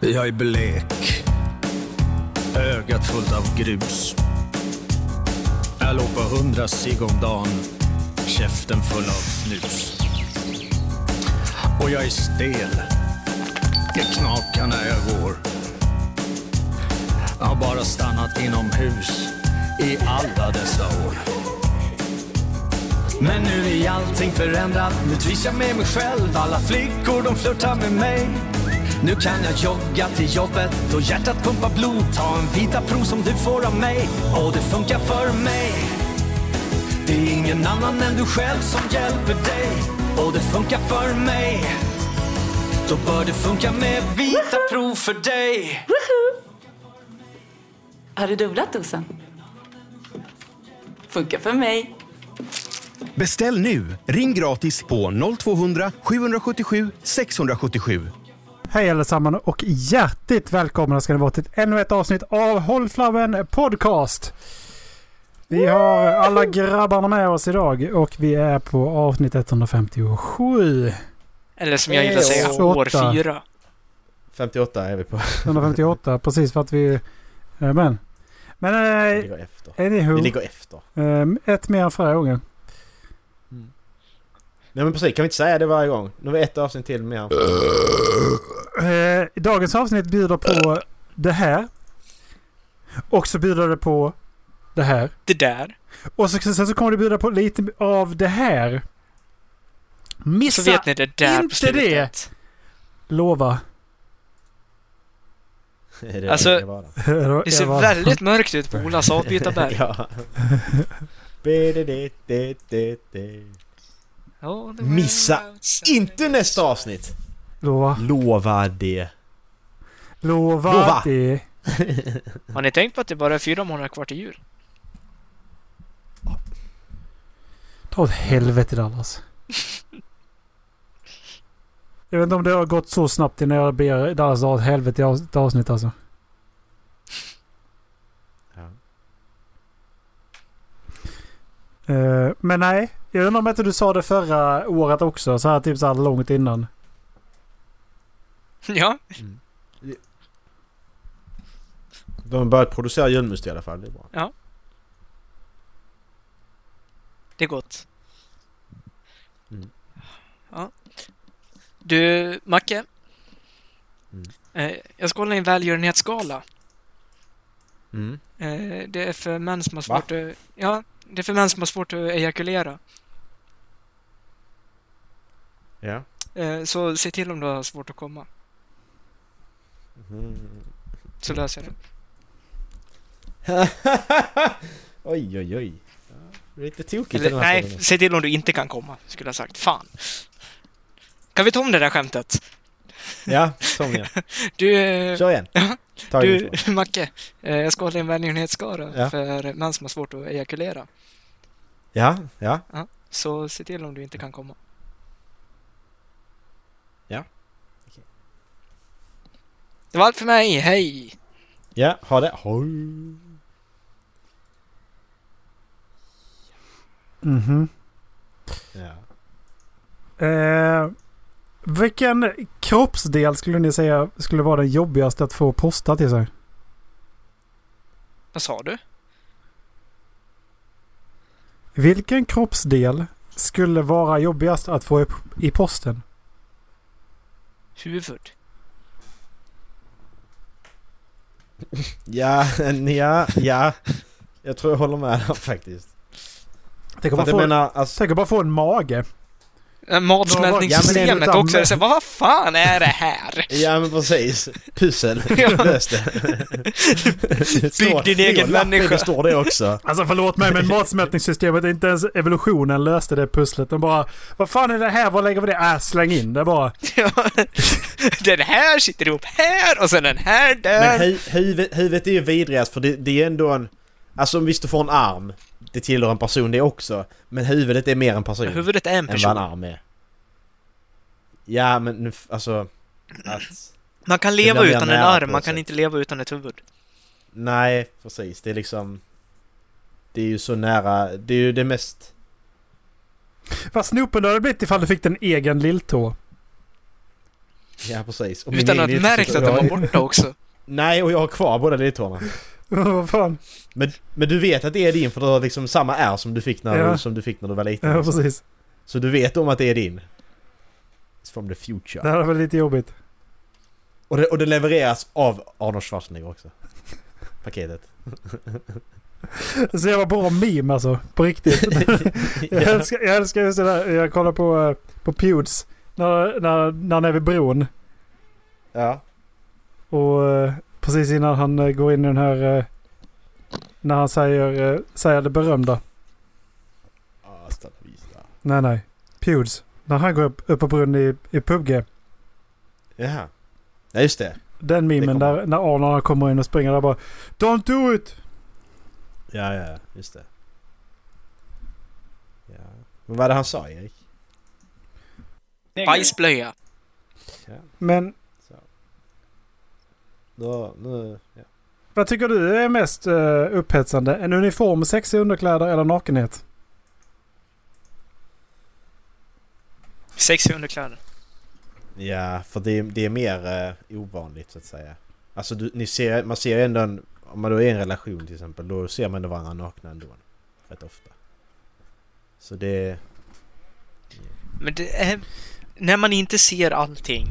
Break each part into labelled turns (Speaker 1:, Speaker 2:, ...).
Speaker 1: Jag är blek. Ögat fullt av grus. Jag låg på hundra cigg om dagen. Käften full av snus. Och jag är stel. Det knakar när jag går. Jag har bara stannat inomhus i alla dessa år. Men nu är allting förändrat, nu trivs jag med mig själv Alla flickor de flörtar med mig Nu kan jag jogga till jobbet och hjärtat pumpar blod Ta en vita prov som du får av mig och det funkar för mig Det är ingen annan än du själv som hjälper dig och det funkar för mig Då bör det funka med vita prov för dig
Speaker 2: Har du dubblat dosen? Funkar för mig.
Speaker 3: Beställ nu! Ring gratis på 0200 777 677.
Speaker 4: Hej allesammans och hjärtligt välkomna ska ni vara till ännu ett avsnitt av Håll Flabben Podcast. Vi har alla grabbarna med oss idag och vi är på avsnitt 157.
Speaker 5: Eller som jag gillar att säga,
Speaker 4: Åtta.
Speaker 5: år fyra.
Speaker 6: 58 är vi på.
Speaker 4: 158 precis för att vi... eh, Men... Men
Speaker 6: Vi
Speaker 4: eh,
Speaker 6: ligger efter. Vi
Speaker 4: anywho,
Speaker 6: ligger efter.
Speaker 4: eh, ett mer förra gången.
Speaker 6: Nej men precis, kan vi inte säga det varje gång? Nu har vi ett avsnitt till med.
Speaker 4: Eh, Dagens avsnitt bjuder på det här. Och så bjuder det på det här.
Speaker 5: Det där.
Speaker 4: Och så, sen så kommer det bjuda på lite av det här.
Speaker 5: Så
Speaker 4: Missa!
Speaker 5: vet ni det där
Speaker 4: inte
Speaker 5: på slutet.
Speaker 4: Lova.
Speaker 6: Är det
Speaker 5: Alltså-
Speaker 6: det var det?
Speaker 5: Det ser
Speaker 4: Eva.
Speaker 5: väldigt mörkt ut på Olas avbytarberg. ja.
Speaker 6: Ja. Be-de-de-de-de-de. Missa Inte nästa avsnitt!
Speaker 4: Lova.
Speaker 6: Lova det.
Speaker 4: Lova.
Speaker 6: Lova.
Speaker 4: Det.
Speaker 5: Har ni tänkt på att det bara är fyra månader kvar till jul?
Speaker 4: Ta åt helvete Dallas. Jag vet inte om det har gått så snabbt innan jag ber Dallas dra åt helvete i av- ett avsnitt alltså.
Speaker 6: Ja.
Speaker 4: Eh, men nej, jag undrar om inte du sa det förra året också. Så här typ så här långt innan.
Speaker 5: Ja.
Speaker 6: De har börjat producera julmust i alla fall, det är bra.
Speaker 5: Det är gott.
Speaker 6: Mm.
Speaker 5: Ja. Du, Macke.
Speaker 6: Mm.
Speaker 5: Eh, jag ska hålla i en välgörenhetsskala.
Speaker 6: Mm.
Speaker 5: Eh, det är för män som har
Speaker 6: Va?
Speaker 5: svårt att... Ja, det är för män som har svårt att ejakulera.
Speaker 6: Ja.
Speaker 5: Eh, så se till om du har svårt att komma.
Speaker 6: Mm.
Speaker 5: Så löser jag det.
Speaker 6: oj, oj, oj. Ja, Lite tokigt i
Speaker 5: Eller,
Speaker 6: den här
Speaker 5: nej,
Speaker 6: stunden.
Speaker 5: se till om du inte kan komma, skulle jag ha sagt. Fan. Kan vi ta om det där skämtet?
Speaker 6: Ja, som igen.
Speaker 5: Du, eh,
Speaker 6: Kör igen. Ta
Speaker 5: du
Speaker 6: du...
Speaker 5: Macke, eh, jag ska hålla en välgörenhetsskara
Speaker 6: Ja.
Speaker 5: för män som har svårt att ejakulera.
Speaker 6: Ja, ja.
Speaker 5: Så se till om du inte kan komma.
Speaker 6: Ja.
Speaker 5: Okej. Det var allt för mig, hej!
Speaker 6: Ja, ha det. Hoj.
Speaker 4: Mhm.
Speaker 6: Ja.
Speaker 4: Eh, vilken kroppsdel skulle ni säga skulle vara den jobbigaste att få posta till sig?
Speaker 5: Vad sa du?
Speaker 4: Vilken kroppsdel skulle vara jobbigast att få i- i posten?
Speaker 5: Huvud?
Speaker 6: Ja, ja, ja. Jag tror jag håller med där faktiskt.
Speaker 4: Tänk
Speaker 6: Jag,
Speaker 4: att bara,
Speaker 6: jag
Speaker 4: få-
Speaker 6: menar, alltså,
Speaker 4: tänk att bara få en mage.
Speaker 5: Äh,
Speaker 6: Ja, men
Speaker 5: Matsmältningssystemet
Speaker 4: det är ju
Speaker 5: också.
Speaker 4: samma.
Speaker 5: Jag säger, vad fan är det här?
Speaker 6: ja men precis. Pussel.
Speaker 5: Ja.
Speaker 6: Lös det. Det står-
Speaker 5: din
Speaker 6: det är
Speaker 5: egen
Speaker 6: en lapp i,
Speaker 5: människa.
Speaker 6: Det står det också.
Speaker 4: Alltså förlåt mig men matsmältningssystemet, inte ens evolutionen löste det pusslet. De bara Vad fan är det här? Var lägger vi det? Äh, släng in det bara.
Speaker 5: Ja, den här sitter ihop här och sen den här där.
Speaker 6: Men hu, huvudet, huvudet är ju vidrigast för det, det är ändå en... Alltså om visst du får en arm. Det tillhör en person det också. Men huvudet är mer en person.
Speaker 5: Huvudet är en
Speaker 6: än vad en
Speaker 5: person.
Speaker 6: arm är. Ja men nu, f- alltså... Att,
Speaker 5: Man kan
Speaker 6: Det
Speaker 5: leva
Speaker 6: blir mer
Speaker 5: utan en
Speaker 6: nära
Speaker 5: arm,
Speaker 6: på
Speaker 5: man
Speaker 6: ett
Speaker 5: kan
Speaker 6: sätt.
Speaker 5: inte leva utan ett huvud.
Speaker 6: nej precis. Det är liksom... Det är ju så nära. Det är ju det mest...
Speaker 4: Fast snopen hade det blivit ifall du fick en egen lilltå.
Speaker 6: Ja, precis. Och min
Speaker 5: Utan
Speaker 6: egen
Speaker 5: att
Speaker 6: lilltå
Speaker 5: märkt
Speaker 6: sitter-
Speaker 5: att den
Speaker 6: jag-
Speaker 5: var borta också.
Speaker 6: Nej, och jag har kvar båda lilltårna.
Speaker 4: Vad fan?
Speaker 6: Men, men du vet att det är din för du har liksom samma ärr som du fick när,
Speaker 4: Ja.
Speaker 6: som du, fick när du var liten.
Speaker 4: Ja,
Speaker 6: liksom.
Speaker 4: precis.
Speaker 6: Så du vet om att det är din. It's from the future.
Speaker 4: Det här var lite jobbigt.
Speaker 6: Och, det, och det levereras av Arnold Schwarzenegger också. Paketet.
Speaker 4: Så jag var bra meme alltså, på riktigt. Jag älskar, jag älskar just det där, jag kollar på, eh, på Pewds när, när, när han är vid bron.
Speaker 6: Ja.
Speaker 4: Och eh, precis innan han eh, går in i den här... eh, När han säger, eh, säger det berömda.
Speaker 6: Hasta la vista.
Speaker 4: Nej, nej. Pewds. När han går upp, upp på brunnen i, i PubG.
Speaker 6: Jaha. Ja, just det.
Speaker 4: Den memen
Speaker 6: kommer.
Speaker 4: där när Arnold kommer in och springer där bara Don't do it!
Speaker 6: Ja, ja, ja, just det. Ja. Men vad är det han sa, Erik?
Speaker 5: Bajsblöja.
Speaker 4: Men
Speaker 6: Så. Då, nu, ja.
Speaker 4: vad tycker du är mest eh, upphetsande? En uniform, sexiga underkläder eller nakenhet?
Speaker 5: Sexiga underkläder.
Speaker 6: Ja, för det, det är mer eh, ovanligt så att säga. Alltså du, ni ser, man ser ju ändå en, om man då är i en relation till exempel, då ser man ändå varandra nakna ändå. Rätt ofta. Så det...
Speaker 5: Men det är... När man inte ser allting.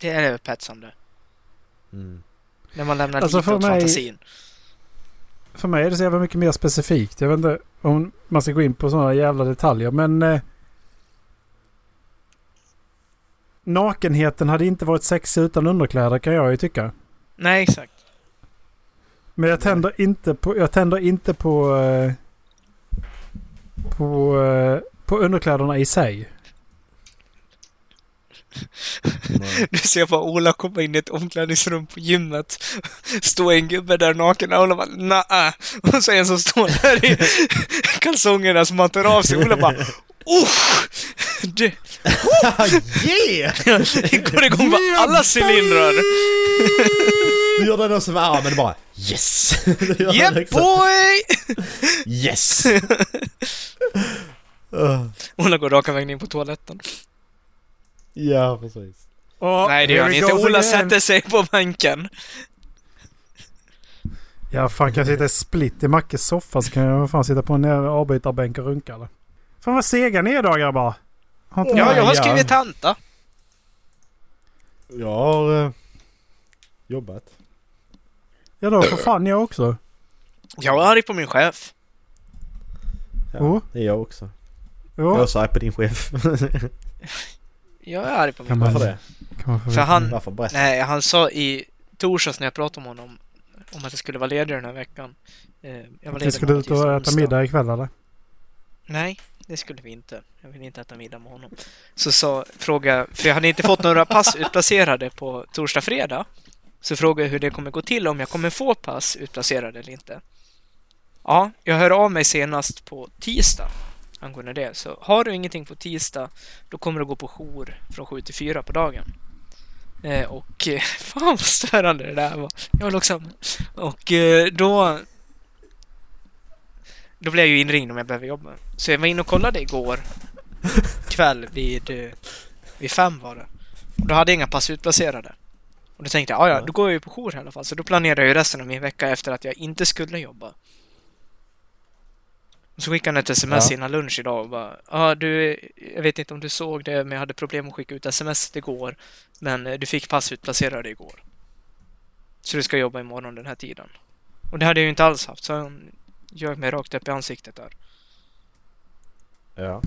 Speaker 5: Det är upphetsande.
Speaker 6: Mm.
Speaker 5: När man lämnar
Speaker 4: Alltså,
Speaker 5: lite
Speaker 4: för
Speaker 5: åt
Speaker 4: mig-
Speaker 5: fantasin.
Speaker 4: För mig är det så jävla mycket mer specifikt. Jag vet inte om man ska gå in på sådana jävla detaljer men... Eh, nakenheten hade inte varit sexig utan underkläder kan jag ju tycka.
Speaker 5: Nej, exakt.
Speaker 4: Men jag tänder inte på... Jag tänder inte på... Eh, på, eh, på underkläderna i sig.
Speaker 6: Nej.
Speaker 5: Nu ser jag bara Ola komma in i ett omklädningsrum på gymmet. Står en gubbe där naken och Ola bara nah. Och så en som står där i kalsongerna som han tar av sig. Ola bara usch! Det
Speaker 6: yeah!
Speaker 5: det går igång på alla cylindrar.
Speaker 6: Du gör den då som är armen bara liksom. yes! Du gör den
Speaker 5: Yeah
Speaker 6: också.
Speaker 5: boy!
Speaker 6: Yes!
Speaker 5: Ola går raka vägen in på toaletten.
Speaker 6: ja, precis.
Speaker 4: Oh,
Speaker 5: Nej det gör han inte. Ola sätter sig på banken.
Speaker 4: Ja, fan kan jag sitta i split i Mackes soffa så kan jag fan sitta på en jävla avbytarbänk och runka eller? Fan vad sega ni är idag grabbar. Har inte
Speaker 5: Ja,
Speaker 4: ni-
Speaker 5: jag har
Speaker 6: ja.
Speaker 5: skrivit tanta.
Speaker 6: Jag har eh, jobbat.
Speaker 4: ja då för fan jag också.
Speaker 5: Jag är arg på min chef.
Speaker 6: Ja,
Speaker 4: Oh.
Speaker 6: Det är jag också. Jag är
Speaker 4: Jo,
Speaker 6: så arg på din chef.
Speaker 5: Jag är arg på
Speaker 4: Kan
Speaker 5: min
Speaker 4: man-
Speaker 5: chef.
Speaker 6: Varför det?
Speaker 4: kan man få
Speaker 5: För
Speaker 4: veta.
Speaker 5: han,
Speaker 6: Varför? Berätta.
Speaker 5: Nej, han sa i torsdags när jag pratade med honom om att jag skulle vara ledig den här veckan. Eh, Jag var
Speaker 4: Ni
Speaker 5: ledig
Speaker 4: skulle
Speaker 5: måndag,
Speaker 4: ut och
Speaker 5: tisdag,
Speaker 4: äta
Speaker 5: onsdag.
Speaker 4: middag ikväll eller?
Speaker 5: Nej, det skulle vi inte. Jag ville inte äta middag med honom. Så sa, fråga, för jag hade inte fått några pass utplacerade på torsdag, fredag. Så frågade jag hur det kommer gå till, om jag kommer få pass utplacerade eller inte. Ja, jag hör av mig senast på tisdag angående det. Så har du ingenting på tisdag, då kommer du gå på jour från 7 till 4 på dagen. Eh, och eh, fan vad störande det där var. Jag var långsam. Och eh, då... Då blev jag ju inringd om jag behöver jobba. Så jag var inne och kollade igår kväll vid, eh, vid fem var det. Och då hade jag inga pass utplacerade. Och då tänkte jag, "Ah, ja då går jag ju på jour i alla fall. Så då planerade jag ju resten av min vecka efter att jag inte skulle jobba. Och så skickade han ett sms
Speaker 6: Ja.
Speaker 5: innan lunch idag och bara, ja du, jag vet inte om du såg det, men jag hade problem att skicka ut sms igår. Men eh, du fick pass utplacerade igår. Så du ska jobba imorgon den här tiden. Och det hade jag ju inte alls haft, så han ljög mig rakt upp i ansiktet där.
Speaker 6: Ja.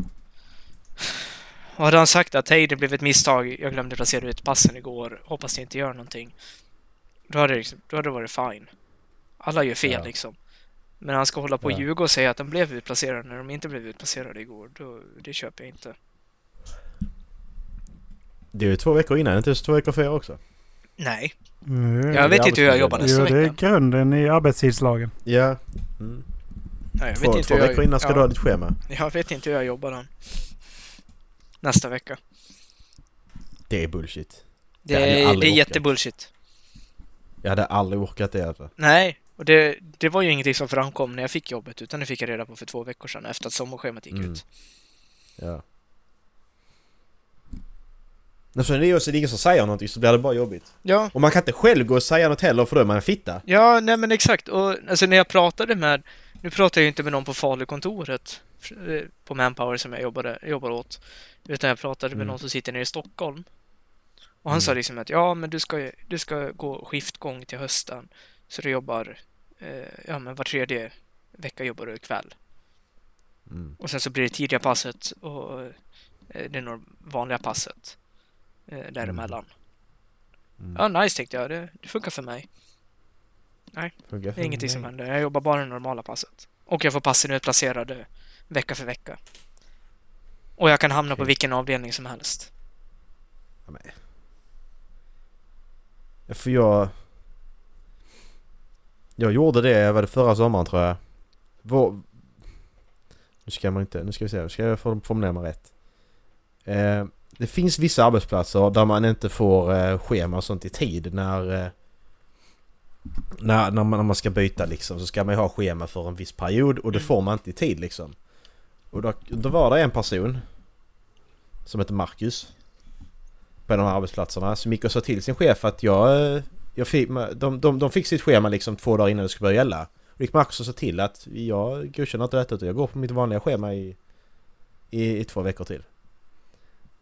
Speaker 5: Och hade han sagt att hej, det blev ett misstag, jag glömde placera ut passen igår, hoppas ni inte gör någonting. Då hade det, liksom, då hade det varit fine. Alla gör fel
Speaker 6: Ja.
Speaker 5: liksom. Men han ska hålla på och
Speaker 6: Ja.
Speaker 5: ljuga och säga att de blev utplacerade när de inte blev utplacerade igår, då, det köper jag inte.
Speaker 6: Det är ju två veckor innan, inte just två veckor före också.
Speaker 5: Nej,
Speaker 4: Mm.
Speaker 5: jag vet inte hur jag
Speaker 6: arbetsmiljö.
Speaker 5: jobbar nästa
Speaker 4: Jo, det är
Speaker 5: vecka.
Speaker 4: grunden i arbetstidslagen.
Speaker 6: Ja. Mm.
Speaker 5: Nej, jag vet
Speaker 6: Två,
Speaker 5: inte
Speaker 6: två
Speaker 5: hur
Speaker 6: veckor
Speaker 5: jag,
Speaker 6: innan ska du ha
Speaker 5: ja,
Speaker 6: ditt schema.
Speaker 5: jag vet inte hur jag jobbar än. Nästa vecka.
Speaker 6: Det är bullshit.
Speaker 5: Det,
Speaker 6: Det hade jag
Speaker 5: är, det
Speaker 6: aldrig
Speaker 5: är
Speaker 6: orkat.
Speaker 5: jättebullshit.
Speaker 6: Jag hade aldrig orkat det. Alltså.
Speaker 5: Nej, och det, det var ju ingenting som framkom när jag fick jobbet, utan det fick jag reda på för två veckor sedan efter att sommarschemat gick
Speaker 6: Mm.
Speaker 5: ut.
Speaker 6: Ja. Eftersom det är också det är ingen som säger någonting så blir det bara jobbigt.
Speaker 5: Ja,
Speaker 6: Och man kan inte själv gå och säga något heller för då är man en fitta.
Speaker 5: ja nej men exakt. Och alltså när jag pratade med... Nu pratar jag ju inte med någon på Falukontoret eh, på Manpower som jag jobbade, jobbar åt. Utan jag pratade med
Speaker 6: Mm.
Speaker 5: någon som sitter nere i Stockholm. Och han
Speaker 6: Mm.
Speaker 5: sa liksom att ja, men du ska, ju- du ska gå skiftgång till hösten. Så du jobbar, eh, ja men var tredje vecka jobbar du kväll.
Speaker 6: Mm.
Speaker 5: Och sen så blir det tidiga passet och eh, det är nog vanliga passet eh, däremellan.
Speaker 6: Mm.
Speaker 5: Ja, nice tänkte jag. Det, det funkar för mig.
Speaker 6: Funkar
Speaker 5: Det är ingenting
Speaker 6: mig.
Speaker 5: som händer. Jag jobbar bara det normala passet. Och jag får passen utplacerade vecka för vecka. Och jag kan hamna på
Speaker 6: Okej.
Speaker 5: vilken avdelning som helst.
Speaker 6: Ja, För jag... Jag gjorde det, var det förra sommaren tror jag. Vår... Nu ska man inte, nu ska vi se, nu ska jag form- formulera mig rätt. Eh, det finns vissa arbetsplatser där man inte får eh, schema och sånt i tid när... Eh, när, när, man, när man ska byta liksom så ska man ju ha schema för en viss period och det
Speaker 5: Mm.
Speaker 6: får man inte i tid liksom. Och då, då var det en person som heter Marcus på de här arbetsplatserna som gick och sa till sin chef att jag, eh, jag fick, de, de, de fick sitt schema liksom två dagar innan det skulle börja gälla. Och Rick Marcus och sa till att jag godkänner inte detta utan jag går på mitt vanliga schema i, i, i två veckor till.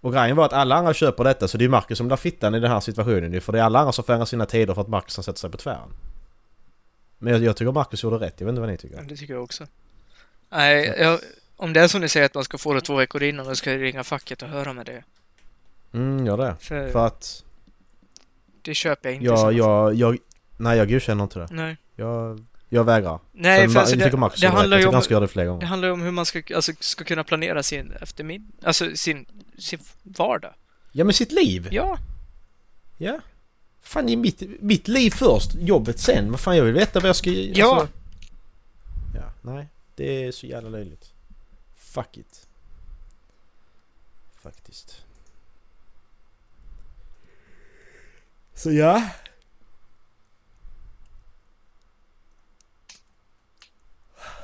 Speaker 6: Och grejen var att alla andra köper detta så det är Marcus som blir fittan i den här situationen ju för det är alla andra som får ändra sina tider för att Marcus har satt sig på tvären. Men jag, jag tycker Marcus gjorde rätt, jag vet inte vad ni tycker.
Speaker 5: Det tycker jag också. Nej, jag, om det är som ni säger att man ska få det två veckor innan, då ska jag ringa facket och höra med det.
Speaker 6: Mm, gör det.
Speaker 5: För,
Speaker 6: För att
Speaker 5: det köper jag inte. i
Speaker 6: jag,
Speaker 5: sådana fall.
Speaker 6: jag, jag, nej jag godkänner inte det.
Speaker 5: Nej.
Speaker 6: Jag, jag vägrar.
Speaker 5: Mm. Nej,
Speaker 6: Sen
Speaker 5: för
Speaker 6: Ma-
Speaker 5: alltså
Speaker 6: jag
Speaker 5: det,
Speaker 6: tycker Marcus
Speaker 5: det
Speaker 6: gjorde rätt.
Speaker 5: handlar
Speaker 6: Jag
Speaker 5: ju
Speaker 6: tycker
Speaker 5: om
Speaker 6: han ska göra det fler
Speaker 5: Det
Speaker 6: gånger.
Speaker 5: handlar ju om hur man ska, alltså, ska kunna planera sin eftermiddag, alltså sin, sin vardag.
Speaker 6: Ja men sitt liv!
Speaker 5: Ja,
Speaker 6: Ja. Fan, det är mitt, mitt liv först, jobbet sen. Vad fan, jag vill veta vad jag ska...
Speaker 5: Ja.
Speaker 6: Alltså, ja, nej. Det är så jävla löjligt. Fuck it. Faktiskt. Så ja.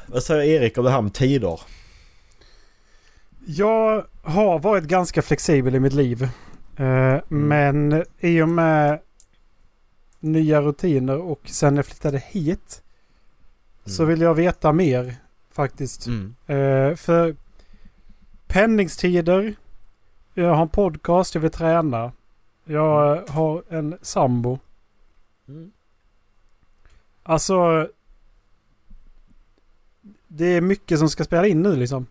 Speaker 6: Vad säger Erik om det här med tider?
Speaker 4: Jag har varit ganska flexibel i mitt liv. Eh, Men i och med nya rutiner och sen jag flyttade hit så
Speaker 6: Mm.
Speaker 4: vill jag veta mer faktiskt. Eh, För pendlingstider, jag har en podcast, jag vill träna, jag eh, har en sambo.
Speaker 6: Mm.
Speaker 4: Alltså, det är mycket som ska spela in nu liksom.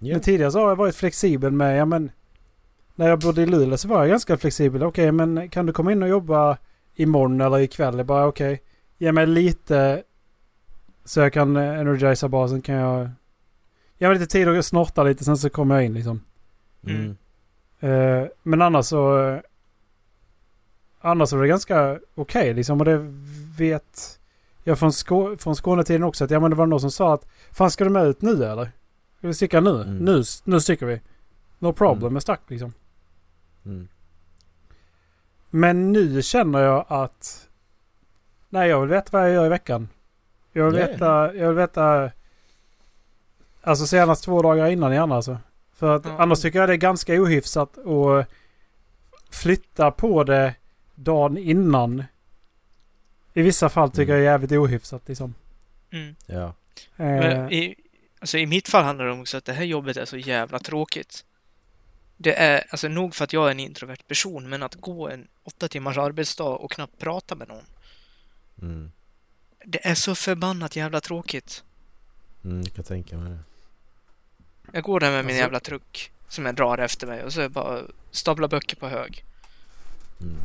Speaker 6: Ja.
Speaker 4: Men tidigare så har jag varit flexibel med, ja men när jag bodde i Luleå så var jag ganska flexibel. Okej, men kan du komma in och jobba imorgon eller ikväll? Jag bara okej, ge mig lite så jag kan eh, energisa basen kan jag... Ge mig lite tid att snorta lite sen så kommer jag in liksom.
Speaker 6: Mm.
Speaker 4: Eh, men annars så... eh, Annars var det ganska okej liksom. Och det vet jag från, Skå- från Skånetiden också. Att ja, men det var någon som sa att Fan ska du med ut nu eller? Ska vi sticka nu?
Speaker 6: Mm.
Speaker 4: Nu, nu sticker vi. No problem,
Speaker 6: Mm.
Speaker 4: jag stack liksom.
Speaker 6: Mm.
Speaker 4: Men nu känner jag att... Nej, jag vill veta vad jag gör i veckan. Jag vill
Speaker 6: Ja, ja.
Speaker 4: veta... Jag vill veta... Alltså senast två dagar innan gärna alltså. För att
Speaker 5: Ja.
Speaker 4: annars tycker jag det är ganska ohyfsat att flytta på det dagen innan. I vissa fall tycker
Speaker 6: Mm.
Speaker 4: jag det är jävligt ohyfsat liksom.
Speaker 5: mm.
Speaker 6: Ja.
Speaker 5: Men
Speaker 4: Eh,
Speaker 5: i, alltså, i mitt fall handlar det om också att det här jobbet är så jävla tråkigt. Det är, alltså nog för att jag är en introvert person, men att gå en åtta timmars arbetsdag och knappt prata med någon.
Speaker 6: Mm.
Speaker 5: Det är så förbannat jävla tråkigt.
Speaker 6: Mm, jag kan tänka mig det.
Speaker 5: Jag går där med min
Speaker 4: Alltså-
Speaker 5: jävla truck som jag drar efter mig och så bara staplar böcker på hög.
Speaker 6: Mm.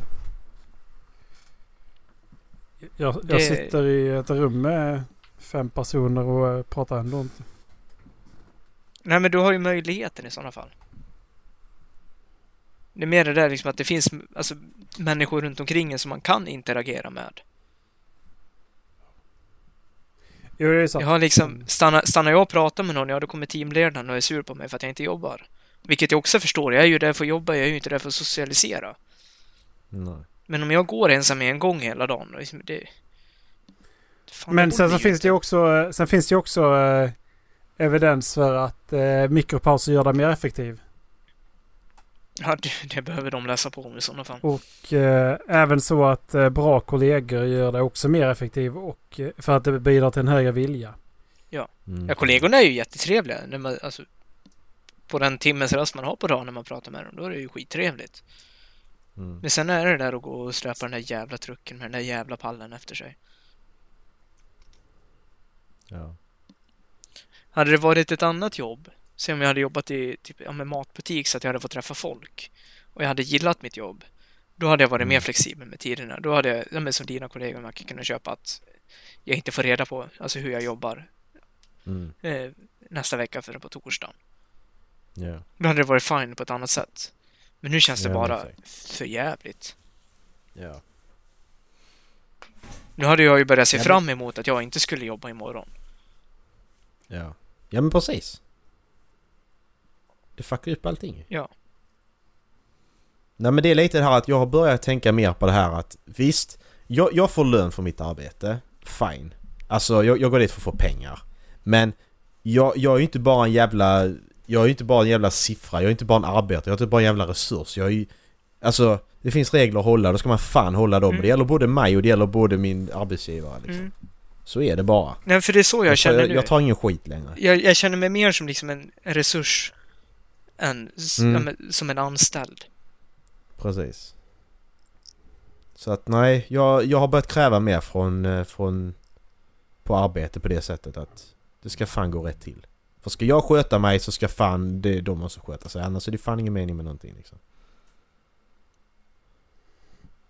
Speaker 4: jag, jag
Speaker 5: det-
Speaker 4: sitter i ett rum med fem personer och eh, pratar ändå inte.
Speaker 5: Nej, men du har ju möjligheten i sådana fall. Det är mer det där liksom att det finns alltså, människor runt omkring en som man kan interagera med.
Speaker 4: Jo, det är sant.
Speaker 5: Jag har liksom, stannar, stannar jag och pratar med någon, ja då kommer teamledaren och är sur på mig för att jag inte jobbar. Vilket jag också förstår, jag är ju där för att jobba, jag är ju inte där för att socialisera.
Speaker 6: Nej.
Speaker 5: Men om jag går ensam en gång hela dagen, då liksom, det... Fan,
Speaker 4: Men
Speaker 5: det
Speaker 4: sen så
Speaker 5: borde ju
Speaker 4: finns
Speaker 5: inte.
Speaker 4: det ju också, sen finns det ju också eh, evidens för att eh, mikropauser gör dig mer effektiv.
Speaker 5: Ja, det, det behöver de läsa på om i sådana fall.
Speaker 4: Och eh, även så att eh, bra kollegor gör det också mer effektiv och eh, för att det bidrar till en högre vilja.
Speaker 6: Mm.
Speaker 5: Ja, kollegorna är ju jättetrevliga. När man, alltså, på den timmens rast man har på dagen när man pratar med dem, då är det ju skittrevligt.
Speaker 6: Mm.
Speaker 5: Men sen är det där att gå och släpa den där jävla trucken med den där jävla pallen efter sig.
Speaker 6: Ja.
Speaker 5: Hade det varit ett annat jobb, se om jag hade jobbat i typ, ja, med matbutik så att jag hade fått träffa folk och jag hade gillat mitt jobb, då hade jag varit
Speaker 6: Mm.
Speaker 5: mer flexibel med tiderna. Då hade jag, ja, men som dina kollegor, man kan kunna köpa att jag inte får reda på alltså, hur jag jobbar
Speaker 6: Mm.
Speaker 5: eh, nästa vecka förrän på torsdagen.
Speaker 6: Ja.
Speaker 5: Då hade det varit fine på ett annat sätt. Men nu känns det
Speaker 6: Ja,
Speaker 5: bara
Speaker 6: exakt.
Speaker 5: för jävligt.
Speaker 6: Ja.
Speaker 5: Nu hade jag ju börjat se
Speaker 6: Ja, men-
Speaker 5: fram emot att jag inte skulle jobba imorgon.
Speaker 6: Ja. Ja men precis. Det fuckar upp allting ju.
Speaker 5: Ja.
Speaker 6: Nej men det är lite det här att jag har börjat tänka mer på det här att visst, jag, jag får lön för mitt arbete. Fine. Alltså jag, jag går dit för att få pengar. Men jag, jag är ju inte bara en jävla... Jag är ju inte bara en jävla siffra, jag är inte bara en arbetare, jag är inte bara en jävla resurs. Jag är ju... Alltså, det finns regler att hålla, då ska man fan hålla dem.
Speaker 5: Mm.
Speaker 6: Det gäller både mig och det gäller både min arbetsgivare liksom.
Speaker 5: Mm.
Speaker 6: Så är det bara.
Speaker 5: Nej, för det är så jag,
Speaker 6: Jag, tar,
Speaker 5: känner
Speaker 6: Alltså,
Speaker 5: nu.
Speaker 6: jag, jag tar ingen skit längre.
Speaker 5: jag, jag känner mig mer som liksom en en resurs än s-
Speaker 6: Mm.
Speaker 5: ja, men som en anställd.
Speaker 6: Precis. Så att nej, jag, jag har börjat kräva mer från, eh, från på arbete på det sättet att det ska fan gå rätt till. För ska jag sköta mig så ska fan det, de måste sköta sig annars är det fan ingen mening med någonting liksom.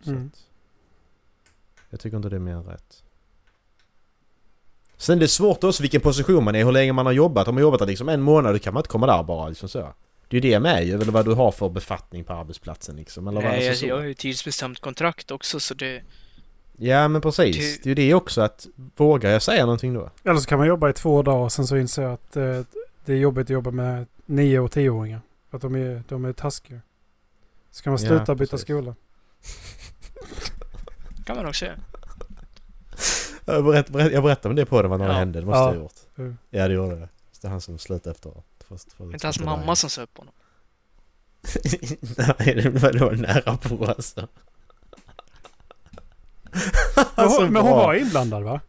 Speaker 6: Så
Speaker 4: Mm.
Speaker 6: att, jag tycker inte det är mer än rätt. Sen det är svårt också vilken position man är, hur länge man har jobbat. Om man har jobbat där liksom en månad, då kan man inte komma där bara liksom så. Det är ju det med ju, eller vad du har för befattning på arbetsplatsen liksom. Eller vad,
Speaker 5: Nej,
Speaker 6: alltså,
Speaker 5: jag, jag
Speaker 6: så.
Speaker 5: har ju tidsbestämt kontrakt också så det...
Speaker 6: Ja men precis,
Speaker 5: Ty-
Speaker 6: det är ju det också att vågar jag säga någonting då?
Speaker 4: Eller så kan man jobba i två dagar och sen så inser jag att eh, det är jobbigt att jobba med nio och tioåringar. För att de är, de är taskiga. Så kan man
Speaker 6: Ja,
Speaker 4: sluta byta
Speaker 6: precis.
Speaker 4: skola.
Speaker 5: kan man också göra.
Speaker 6: Jag, berätt, berätt, jag berättade om det på den vad när det
Speaker 5: Ja.
Speaker 6: hände, det måste
Speaker 4: Ja.
Speaker 6: jag ha gjort.
Speaker 4: Mm.
Speaker 6: Ja det gjorde det. Så det är han som slutade efter. Först, först,
Speaker 5: Inte hans mamma som sa upp honom.
Speaker 6: Nej det var då nära på alltså.
Speaker 4: Men
Speaker 6: Så
Speaker 4: hon, men hon
Speaker 6: bra.
Speaker 4: var inblandad va?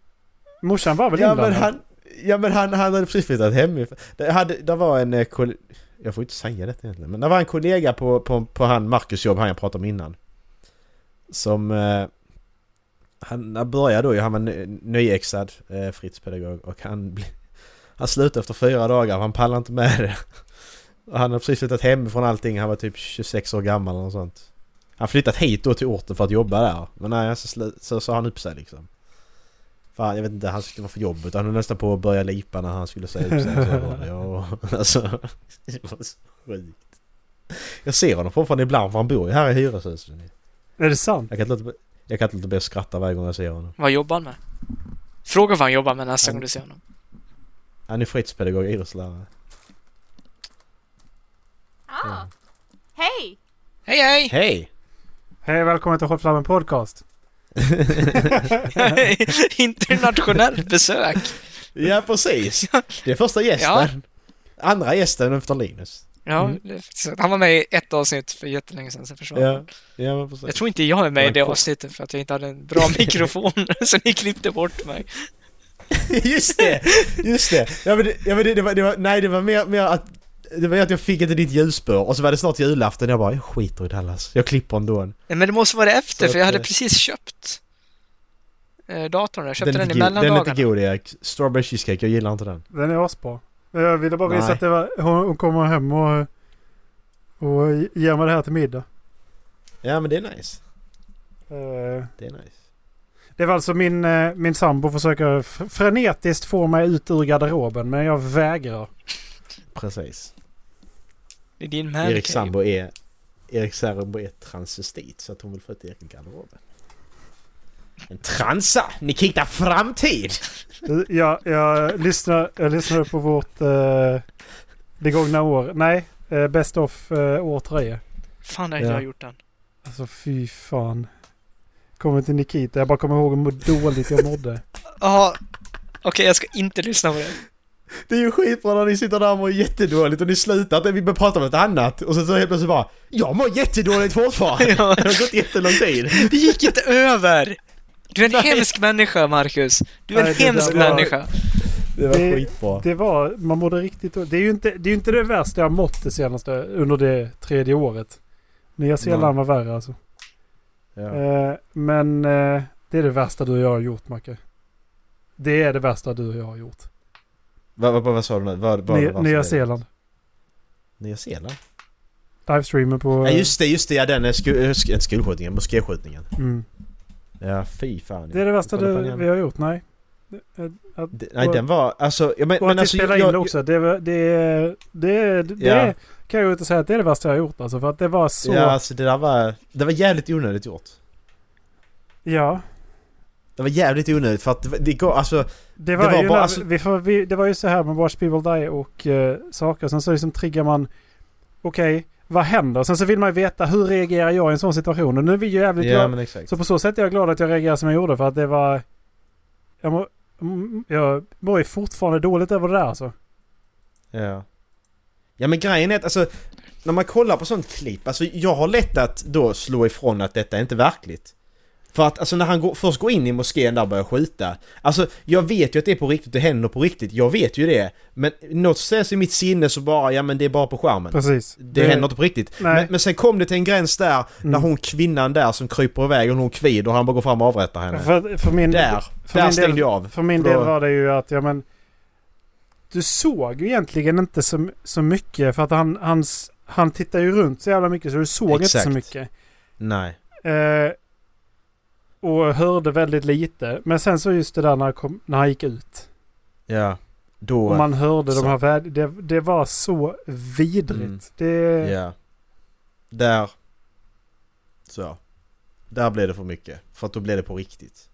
Speaker 4: Morsan var väl
Speaker 6: Ja
Speaker 4: inblandad?
Speaker 6: men han, ja, men han, han hade precis flyttat hemifrån. Det, hade, det var en eh, koll- Jag får inte säga detta egentligen. Men det var en kollega på, på, på han Marcus jobb, han jag pratade om innan. Som... Eh, han han började då ju, han var ny- nyexad eh, fritidspedagog och han... ble- Han slutade efter fyra dagar, han pallade inte med det. Och han hade precis flyttat hemifrån allting, han var typ 26 år gammal eller något sånt. Han flyttat hit då till orten för att jobba där. Men nej, så, slu- så sa han upp sig liksom. Fan, jag vet inte, han skulle vara för jobbigt. Han höll nästan på att börja lipa när han skulle säga upp sig. Så var det, ja, alltså, det var så sjukt. Jag ser honom fortfarande ibland för han bor ju här i hyreshuset.
Speaker 4: Är det sant?
Speaker 6: Jag kan inte låta bli- jag kan inte låta bli att skratta varje gång jag ser honom.
Speaker 5: Vad jobbar han med? Fråga vad han jobbar med nästa
Speaker 6: Han-
Speaker 5: gång du ser honom.
Speaker 6: Han är fritidspedagog och idrottslärare.
Speaker 7: Ah. Hej!
Speaker 5: Hej hej!
Speaker 6: Hej!
Speaker 4: Hej välkommen till Håll Flabben Podcast.
Speaker 5: Internationellt besök!
Speaker 6: Ja, precis! Det är första gästen. Andra gästen efter Linus.
Speaker 5: Ja, det är faktiskt sant. han var med i ett avsnitt för jättelänge sedan, sen försvann han.
Speaker 6: Ja, ja men precis.
Speaker 5: Jag tror inte jag är med i
Speaker 6: Det
Speaker 5: det
Speaker 6: var en kort-
Speaker 5: avsnittet för att jag inte hade en bra mikrofon, så ni klippte bort mig.
Speaker 6: Just det! Just det! Ja men, det, ja, men det, det, var, det var... Nej det var mer, mer att... Det var att jag fick inte ditt ljusspår och så var det snart julafton jag bara jag skiter i Dallas. Jag klipper ändå.
Speaker 5: Nej, men det måste vara det efter,
Speaker 6: Så
Speaker 5: för jag
Speaker 6: att,
Speaker 5: hade
Speaker 6: eh,
Speaker 5: precis köpt eh, datorn. där. Jag köpte den, i
Speaker 6: inte god, den är
Speaker 5: mellandagarna.
Speaker 6: inte god Erik. Strawberry cheesecake, jag gillar inte den.
Speaker 4: Den är asbra. Jag ville bara visa
Speaker 6: Nej.
Speaker 4: att det var, hon, hon kommer hem och, och ger mig det här till middag.
Speaker 6: Ja men det är nice.
Speaker 4: Eh,
Speaker 6: Det är nice.
Speaker 4: Det var alltså min, eh, min sambo försöker f- frenetiskt få mig ut ur garderoben men jag vägrar.
Speaker 6: Precis.
Speaker 5: Det är din
Speaker 6: Erik
Speaker 5: man
Speaker 6: sambo är... Erik sambo är transvestit så att hon vill få ut Erik i garderoben. En transa! Nikita Framtid!
Speaker 4: Jag, jag, lyssnar, jag lyssnade på vårt eh, det gångna år. Nej, eh, Best of eh, år 3.
Speaker 5: Fan, det har inte
Speaker 6: Ja.
Speaker 5: jag gjort än.
Speaker 4: Alltså fy fan. Kommer till Nikita. Jag bara kommer ihåg hur dåligt jag mådde.
Speaker 5: Ja, okej, jag ska inte lyssna på det.
Speaker 6: Det är ju skitbra när ni sitter där och mår jättedåligt och ni slutar att vi börjar prata om något annat och sen så helt plötsligt bara Jag mår jättedåligt fortfarande! Det har gått jättelång tid.
Speaker 5: Det gick inte över! Du är en hemsk människa, Marcus. Du är en
Speaker 6: Nej, det där
Speaker 5: hemsk
Speaker 6: var-
Speaker 5: människa.
Speaker 6: Det var
Speaker 4: Det-
Speaker 6: skitbra.
Speaker 4: Det var, man mådde riktigt Det är ju inte det, är ju inte det värsta jag mått det senaste, under det tredje året. Nya Zeeland var värre alltså.
Speaker 6: Ja.
Speaker 4: Eh, men eh, det är det värsta du och jag har gjort, Macke. Det är det värsta du och jag har gjort.
Speaker 6: Vad, vad, vad sa du nu? Vad, vad,
Speaker 4: Ny,
Speaker 6: vad-
Speaker 4: Nya Zeeland.
Speaker 6: Nya Zeeland?
Speaker 4: Livestreamen på...
Speaker 6: Ja just det, just det. Ja den är sko, eh, sk, inte skolskjutningen, moskéskjutningen.
Speaker 4: Mm.
Speaker 6: Ja fy fan.
Speaker 4: Det är det värsta
Speaker 6: Kolla på
Speaker 4: du,
Speaker 6: den.
Speaker 4: vi har gjort, nej. Eh, att-
Speaker 6: Det- Nej den var, alltså, ja, men,
Speaker 4: Och
Speaker 6: men
Speaker 4: att vi
Speaker 6: alltså,
Speaker 4: spelar in det också. Det, var- det, det, det,
Speaker 6: Ja.
Speaker 4: kan jag ju inte säga att det är det värsta jag har gjort alltså. För att det var så...
Speaker 6: Ja, alltså det där var, det var jävligt onödigt gjort.
Speaker 4: ja.
Speaker 6: Det var jävligt onödigt för att det, var- det går, alltså,
Speaker 4: Det var,
Speaker 6: Det var
Speaker 4: ju
Speaker 6: bara-
Speaker 4: när,
Speaker 6: alltså-
Speaker 4: vi får, vi, det var ju så här med Watch People Die och eh, saker. Sen så liksom triggar man... Okej, vad händer? Sen så vill man ju veta hur reagerar jag i en sån situation? Och nu är vi ju jävligt glada.
Speaker 6: men exakt.
Speaker 4: Så på så sätt är jag glad att jag reagerade som jag gjorde för att det var... Jag mår, mm, jag mår ju fortfarande dåligt över det där alltså.
Speaker 6: Ja. Ja men grejen är att alltså, när man kollar på sånt klipp, alltså jag har lätt att då slå ifrån att detta är inte verkligt. För att alltså när han går, först går in i moskén där och börjar skjuta, alltså jag vet ju att det är på riktigt, det händer på riktigt, jag vet ju det. Men någonstans i mitt sinne så bara, ja men det är bara på skärmen.
Speaker 4: Precis.
Speaker 6: Det, händer inte på riktigt.
Speaker 4: Nej.
Speaker 6: Men, men sen kom det till en gräns där, när
Speaker 4: Mm.
Speaker 6: hon kvinnan där som kryper iväg och hon kvid och han bara går fram och avrättar henne.
Speaker 4: För, för min,
Speaker 6: där,
Speaker 4: för
Speaker 6: där
Speaker 4: min
Speaker 6: stängde
Speaker 4: del,
Speaker 6: jag av.
Speaker 4: För min
Speaker 6: För
Speaker 4: del
Speaker 6: då-
Speaker 4: var det ju att, ja men... Du såg ju egentligen inte så, så mycket för att han, hans, han tittar ju runt så jävla mycket så du såg inte
Speaker 6: Exakt.
Speaker 4: så mycket.
Speaker 6: Nej.
Speaker 4: Eh, och hörde väldigt lite. Men sen så just det där när han, kom, när han gick ut.
Speaker 6: Ja. Då...
Speaker 4: Och man hörde
Speaker 6: Så.
Speaker 4: de här väd- det, det var så vidrigt.
Speaker 6: Mm.
Speaker 4: Det...
Speaker 6: Ja. Där. Så. Där blev det för mycket. För att då blev det på riktigt.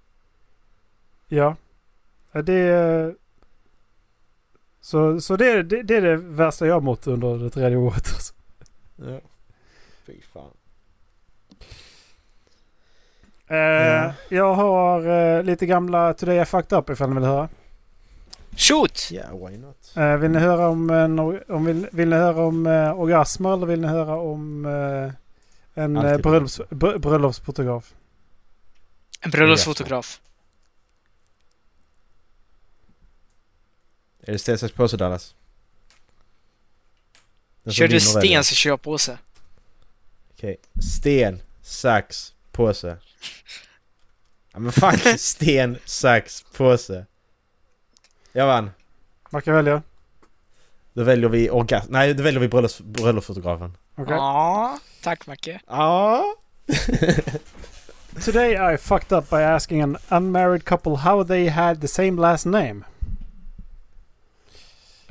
Speaker 4: Ja. Ja, Det... Så, så det, det, det är det värsta jag har mått under det tredje året. Alltså.
Speaker 6: Ja. Fy fan.
Speaker 4: Eh, Jag har eh, lite gamla Today I fucked up ifall ni vill höra.
Speaker 5: Shoot!
Speaker 6: Ja, why not?
Speaker 4: Eh, vill ni höra om, en, or- om, vill, vill ni höra om eh, orgasmer eller vill ni höra om eh, en eh,
Speaker 6: Alltid
Speaker 4: bröllops, br- bröllopsfotograf?
Speaker 5: En bröllopsfotograf.
Speaker 6: Är det sten, sax, påse Dallas? Den som
Speaker 5: Kör du
Speaker 6: vinner väljer.
Speaker 5: sten så kör jag påse.
Speaker 6: Okej. Sten, sax, påse. Ja men fuck. sten, sax, påse. Jag vann.
Speaker 4: Man kan välja.
Speaker 6: Då väljer vi orgasm... Nej, då väljer vi bröllops- bröllopsfotografen.
Speaker 4: Okej.
Speaker 5: Ja, tack Macke.
Speaker 6: Ja.
Speaker 4: Today I fucked up by asking an unmarried couple how they had the same last name.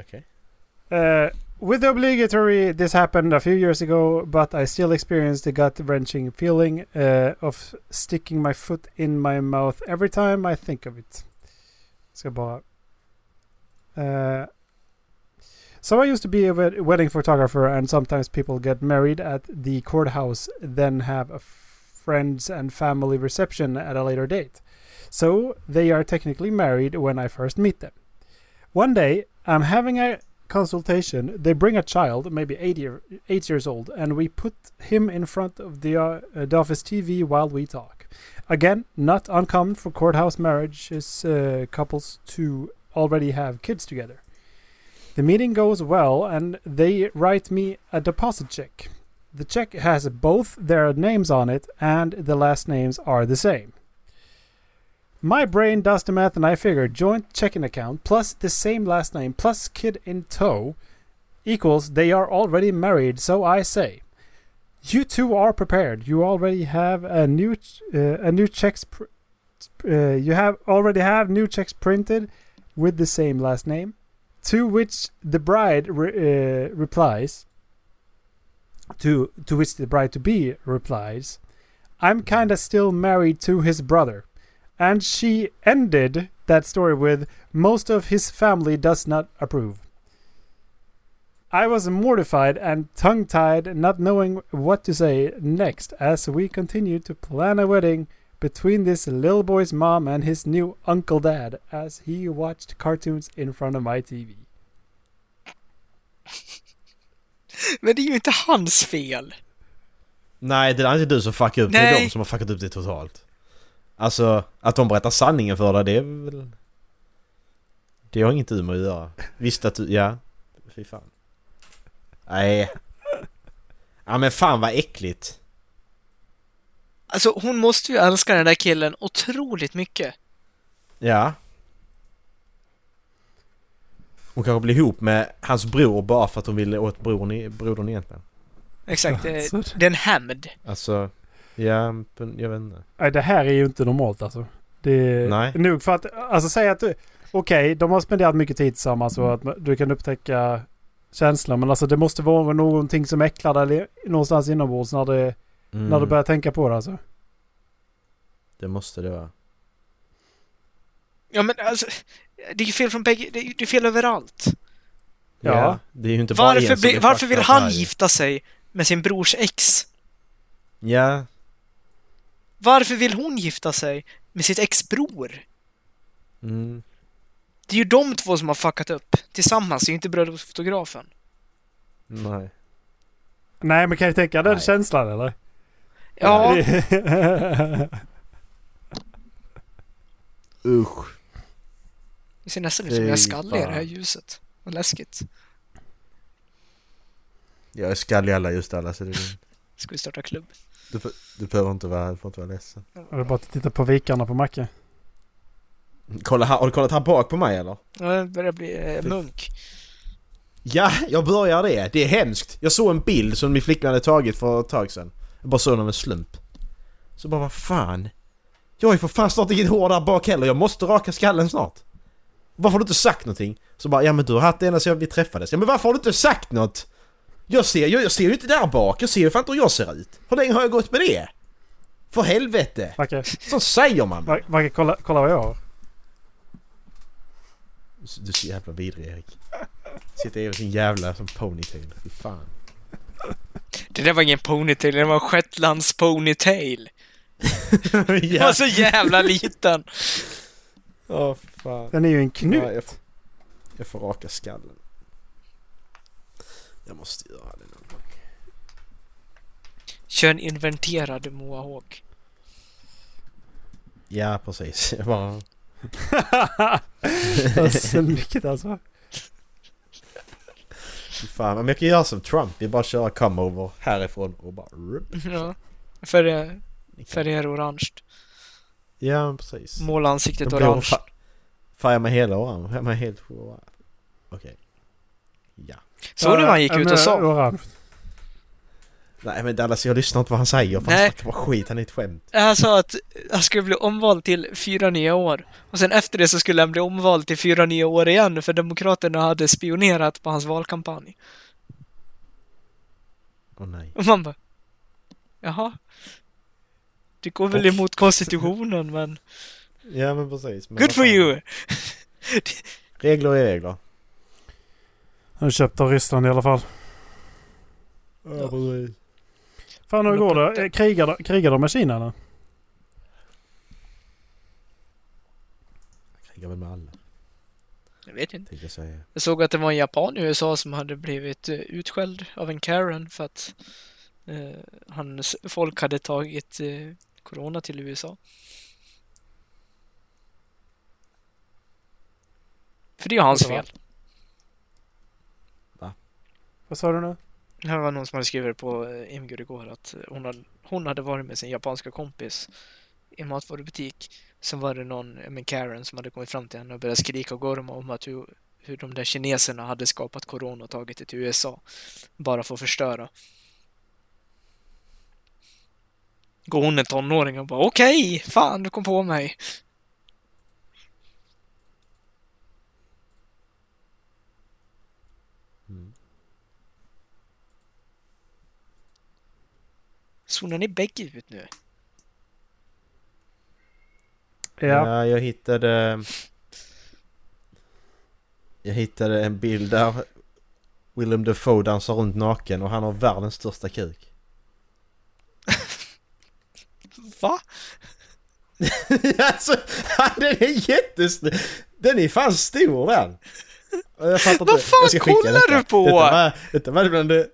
Speaker 6: Okej.
Speaker 4: Uh, with the obligatory, this happened a few years ago, but I still experienced the gut wrenching feeling uh, of sticking my foot in my mouth every time I think of it. Ska bara. Uh, so I used to be a wed- wedding photographer, and sometimes people get married at the courthouse, then have a friends and family reception at a later date. So they are technically married when I first meet them. One day, I'm having a consultation, they bring a child, maybe eight, year, eight years old, and we put him in front of the, uh, uh, the office TV while we talk. Again, not uncommon for courthouse marriages uh, couples to already have kids together. The meeting goes well, and they write me a deposit check. The check has both their names on it, and the last names are the same. My brain does the math and I figure joint checking account plus the same last name plus kid in tow equals they are already married, so I say. You two are prepared. You already have a new ch- uh, a new checks pr- uh, you have already have new checks printed with the same last name. To which the bride re- uh, replies to to which the bride to be replies, I'm kind of still married to his brother. And she ended that story with, Most of his family does not approve. I was mortified and tongue tied, not knowing what to say next as we continued to plan a wedding between this little boy's mom and his new uncle dad as he watched cartoons in front of my TV.
Speaker 5: Men det är ju inte hans fel.
Speaker 6: Nej, det är inte du som fuckar upp det. Det är
Speaker 5: Nej.
Speaker 6: de som har fuckat upp det totalt. Alltså, att de berättar sanningen för dig, det är väl... Det har inget du med att göra. Visst att du... Ja. Fy fan. Nej. Ja men fan vad äckligt.
Speaker 5: Alltså hon måste ju älska den där killen otroligt mycket.
Speaker 6: Ja. Hon kanske blir ihop med hans bror bara för att hon ville åt brodern, i- brodern egentligen.
Speaker 5: Exakt, det,
Speaker 4: Alltså,
Speaker 5: det är en hämnd.
Speaker 6: Alltså, ja, men jag vet inte.
Speaker 4: nej, det här är ju inte normalt alltså. Det är
Speaker 6: Nej.
Speaker 4: nog för att, alltså säg att du, okej, de har spenderat mycket tid tillsammans
Speaker 5: Mm.
Speaker 4: och att du kan upptäcka känslor. Men alltså det måste vara någonting som äcklar dig eller någonstans inombords när, det,
Speaker 6: Mm,
Speaker 4: när du börjar tänka på det alltså.
Speaker 6: Det måste det vara.
Speaker 5: Ja men alltså, det är ju fel från bägge, det är ju det är fel överallt.
Speaker 4: Ja.
Speaker 6: det är ju inte bara en
Speaker 5: Varför,
Speaker 6: som
Speaker 5: bli,
Speaker 6: är
Speaker 5: varför vill
Speaker 6: fucked up
Speaker 5: han
Speaker 6: här ju.
Speaker 5: gifta sig med sin brors ex?
Speaker 6: Ja,
Speaker 5: Varför vill hon gifta sig med sitt ex-bror?
Speaker 6: mm,
Speaker 5: Det är ju de två som har fuckat upp tillsammans, det är ju inte bröllopsfotografen.
Speaker 6: nej.
Speaker 4: Nej, men kan du tänka den
Speaker 6: Nej.
Speaker 4: känslan eller?
Speaker 5: Ja,
Speaker 6: Usch.
Speaker 5: det ser nästan ut
Speaker 6: Fy
Speaker 5: som jag är skallig i det här
Speaker 6: fan.
Speaker 5: ljuset. Vad läskigt.
Speaker 6: Jag är skallig alla just alla så det är lugnt.
Speaker 5: Ska vi starta klubb?
Speaker 6: du, får- du behöver inte vara, du får inte vara ledsen.
Speaker 4: Jag vill bara titta på vikarna på Macke.
Speaker 6: Kolla, här- har du kollat här bak på mig eller?
Speaker 5: Ja, jag börjar bli eh, munk.
Speaker 6: Ja, jag börjar det. Det är hemskt. Jag såg en bild som min flickvän hade tagit för ett tag sedan. Jag bara såg den av en slump. Så bara vad fan. Jag har ju för fan snart inget hår där bak heller. Jag måste raka skallen snart. Varför har du inte sagt någonting? Så bara ja men du har haft det ända sedan vi träffades. Ja men varför har du inte sagt något? Jag ser, jag, jag ser ju inte där bak. Jag ser ju fan inte hur jag ser ut. Hur länge har jag gått med det? För helvete.
Speaker 4: Macke,
Speaker 6: Så säger man.
Speaker 4: Mac- Macke kolla, kolla vad jag har.
Speaker 6: Du är så jävla vidrig Erik. Sitter i sin jävla som ponytail. Fy fan.
Speaker 5: Det där var ingen ponytail, det var en shetlands ponytail. Den
Speaker 6: Ja.
Speaker 5: var så jävla liten.
Speaker 6: Åh fan.
Speaker 4: Den är ju en knut.
Speaker 6: Ja, jag, får, jag får raka skallen. Jag måste göra det någon gång.
Speaker 5: Kör en inventerad mohawk.
Speaker 6: Ja, precis. Jag bara...
Speaker 4: Vad snyggt alltså.
Speaker 6: fy Fan, men jag kan göra som Trump. Vi bara köra come over härifrån och bara... rup.
Speaker 5: Ja. För, eh, färger orange.
Speaker 6: Ja, men precis.
Speaker 5: Måla ansiktet
Speaker 6: Jag blir
Speaker 5: orange.
Speaker 6: fa- Färga mig hela orange. Färga mig helt... Okej. Ja.
Speaker 5: Såg du vad han gick ut och sa?
Speaker 4: Orange.
Speaker 6: Nej men Dallas, jag lyssnar inte vad han säger. För han
Speaker 5: Nej.
Speaker 6: snackar bara skit. Han är ett skämt.
Speaker 5: Han sa att han skulle bli omvald till fyra nya år. Och sen efter det så skulle han bli omvald till fyra nya år igen för Demokraterna hade spionerat på hans valkampanj.
Speaker 6: Åh nej.
Speaker 5: Och man bara... Jaha? Det går väl
Speaker 6: Och-
Speaker 5: emot konstitutionen men...
Speaker 6: Ja men precis. Men
Speaker 5: Good
Speaker 6: vad
Speaker 5: for
Speaker 6: fan.
Speaker 5: you!
Speaker 6: Regler är regler.
Speaker 4: Han köpte av Ryssland i alla fall.
Speaker 6: Ja, precis.
Speaker 4: Fan hur går det? Eh, Krigar, de- krigar de med Kina eller?
Speaker 6: Jag krigar väl med alla,
Speaker 5: Jag vet inte.
Speaker 6: tänker jag säga.
Speaker 5: Jag såg att det var en japan i USA som hade blivit eh, utskälld av en Karen för att eh, hans folk hade tagit eh, corona till USA. För det är hans
Speaker 4: Det var-
Speaker 5: fel.
Speaker 4: Vad sa du nu?
Speaker 5: Det här var någon som hade skrivit på eh, Imgur igår att eh, hon hade, hon hade varit med sin japanska kompis i en matvarubutik. Sen var det någon, eh, men Karen, som hade kommit fram till henne och börjat skrika och gorma om att hur, hur de där kineserna hade skapat corona och tagit det till USA. Bara för att förstöra. Går hon en tonåring och bara okej, fan du kom på mig. Zonar ni bägge ut nu?
Speaker 4: Ja.
Speaker 6: Ja, jag hittade... Jag hittade en bild där Willem Dafoe dansar runt naken och han har världens största kuk.
Speaker 5: Va?
Speaker 6: alltså, den är jättestor! Den är fan stor den! Jag fattar
Speaker 5: Vad fan
Speaker 6: Jag ska skicka
Speaker 5: kollar
Speaker 6: detta.
Speaker 5: du på?
Speaker 6: Detta var, detta var bland det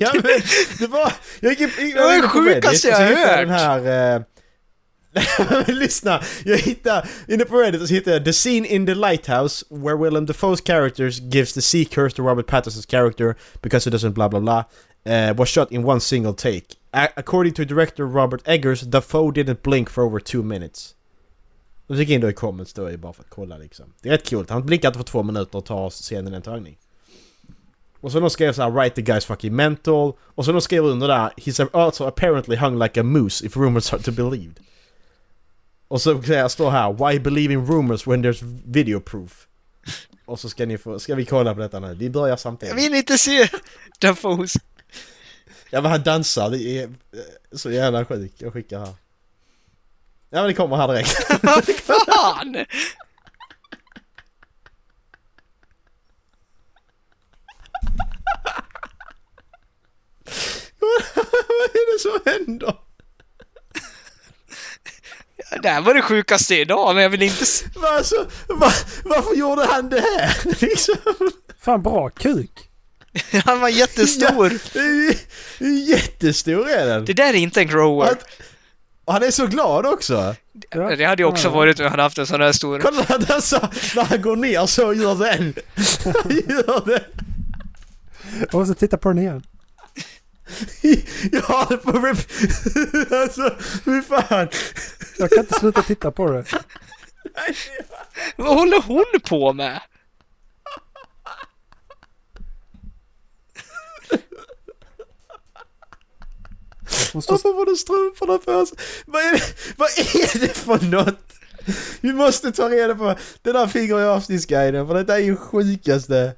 Speaker 6: ja, men det var... Jag gick, jag,
Speaker 5: Det var
Speaker 6: gick
Speaker 5: det
Speaker 6: på Reddit
Speaker 5: sjukaste
Speaker 6: och så
Speaker 5: jag har
Speaker 6: hittade
Speaker 5: hört.
Speaker 6: Den här, eh, Nej, men eh, lyssna! Jag hittar, inne på Reddit och så hittar jag The scene in the lighthouse where Willem Dafoe's characters gives the sea curse to Robert Patterson's character because he doesn't blah blah blah uh, was shot in one single take. A according to director Robert Eggers, Dafoe didn't blink for over two minutes. Och så gick jag in då i comments då bara för att kolla liksom. Det är rätt kul, han blinkar inte för två minuter och tar scenen i en tagning. Och så de skrev såhär “Right the guy's fucking mental” och så de skrev under där “He's also apparently hung like a moose if rumors are to be believed”. Och så kan jag stå här, why believe in rumors when there's video proof? Och så ska ni få, ska vi kolla på detta nu, vi börjar
Speaker 5: Jag
Speaker 6: samtidigt.
Speaker 5: vill inte se Dafoes.
Speaker 6: Ja men han dansar, det är eh, så jävla sjukt, jag skickar här. Ja men det kommer här direkt.
Speaker 5: Vad fan!
Speaker 6: Vad är det som händer?
Speaker 5: Det här var det sjukaste idag, men jag vill inte se...
Speaker 6: Va, Alltså, va, varför gjorde han det här? Liksom.
Speaker 4: Fan bra kuk.
Speaker 5: Han var jättestor.
Speaker 6: Det är ju- det är ju jättestor är den.
Speaker 5: Det där är inte en grower.
Speaker 6: Att- Och han är så glad också!
Speaker 4: Ja.
Speaker 5: Det hade ju också
Speaker 4: Ja.
Speaker 5: varit om jag hade haft en sån här stor.
Speaker 6: Kolla han dansar! När han går ner så gör den! Han gör den!
Speaker 4: Jag måste titta på den igen.
Speaker 6: Jag har det på rep... Alltså, hur fan!
Speaker 4: Jag kan inte sluta titta på det.
Speaker 5: Vad håller hon på med?
Speaker 4: Hon står
Speaker 6: Varför var det strumporna på sig? Vad är det, vad är det för något? Vi måste ta reda på den där fingrar i avsnittsguiden för detta är ju sjukaste.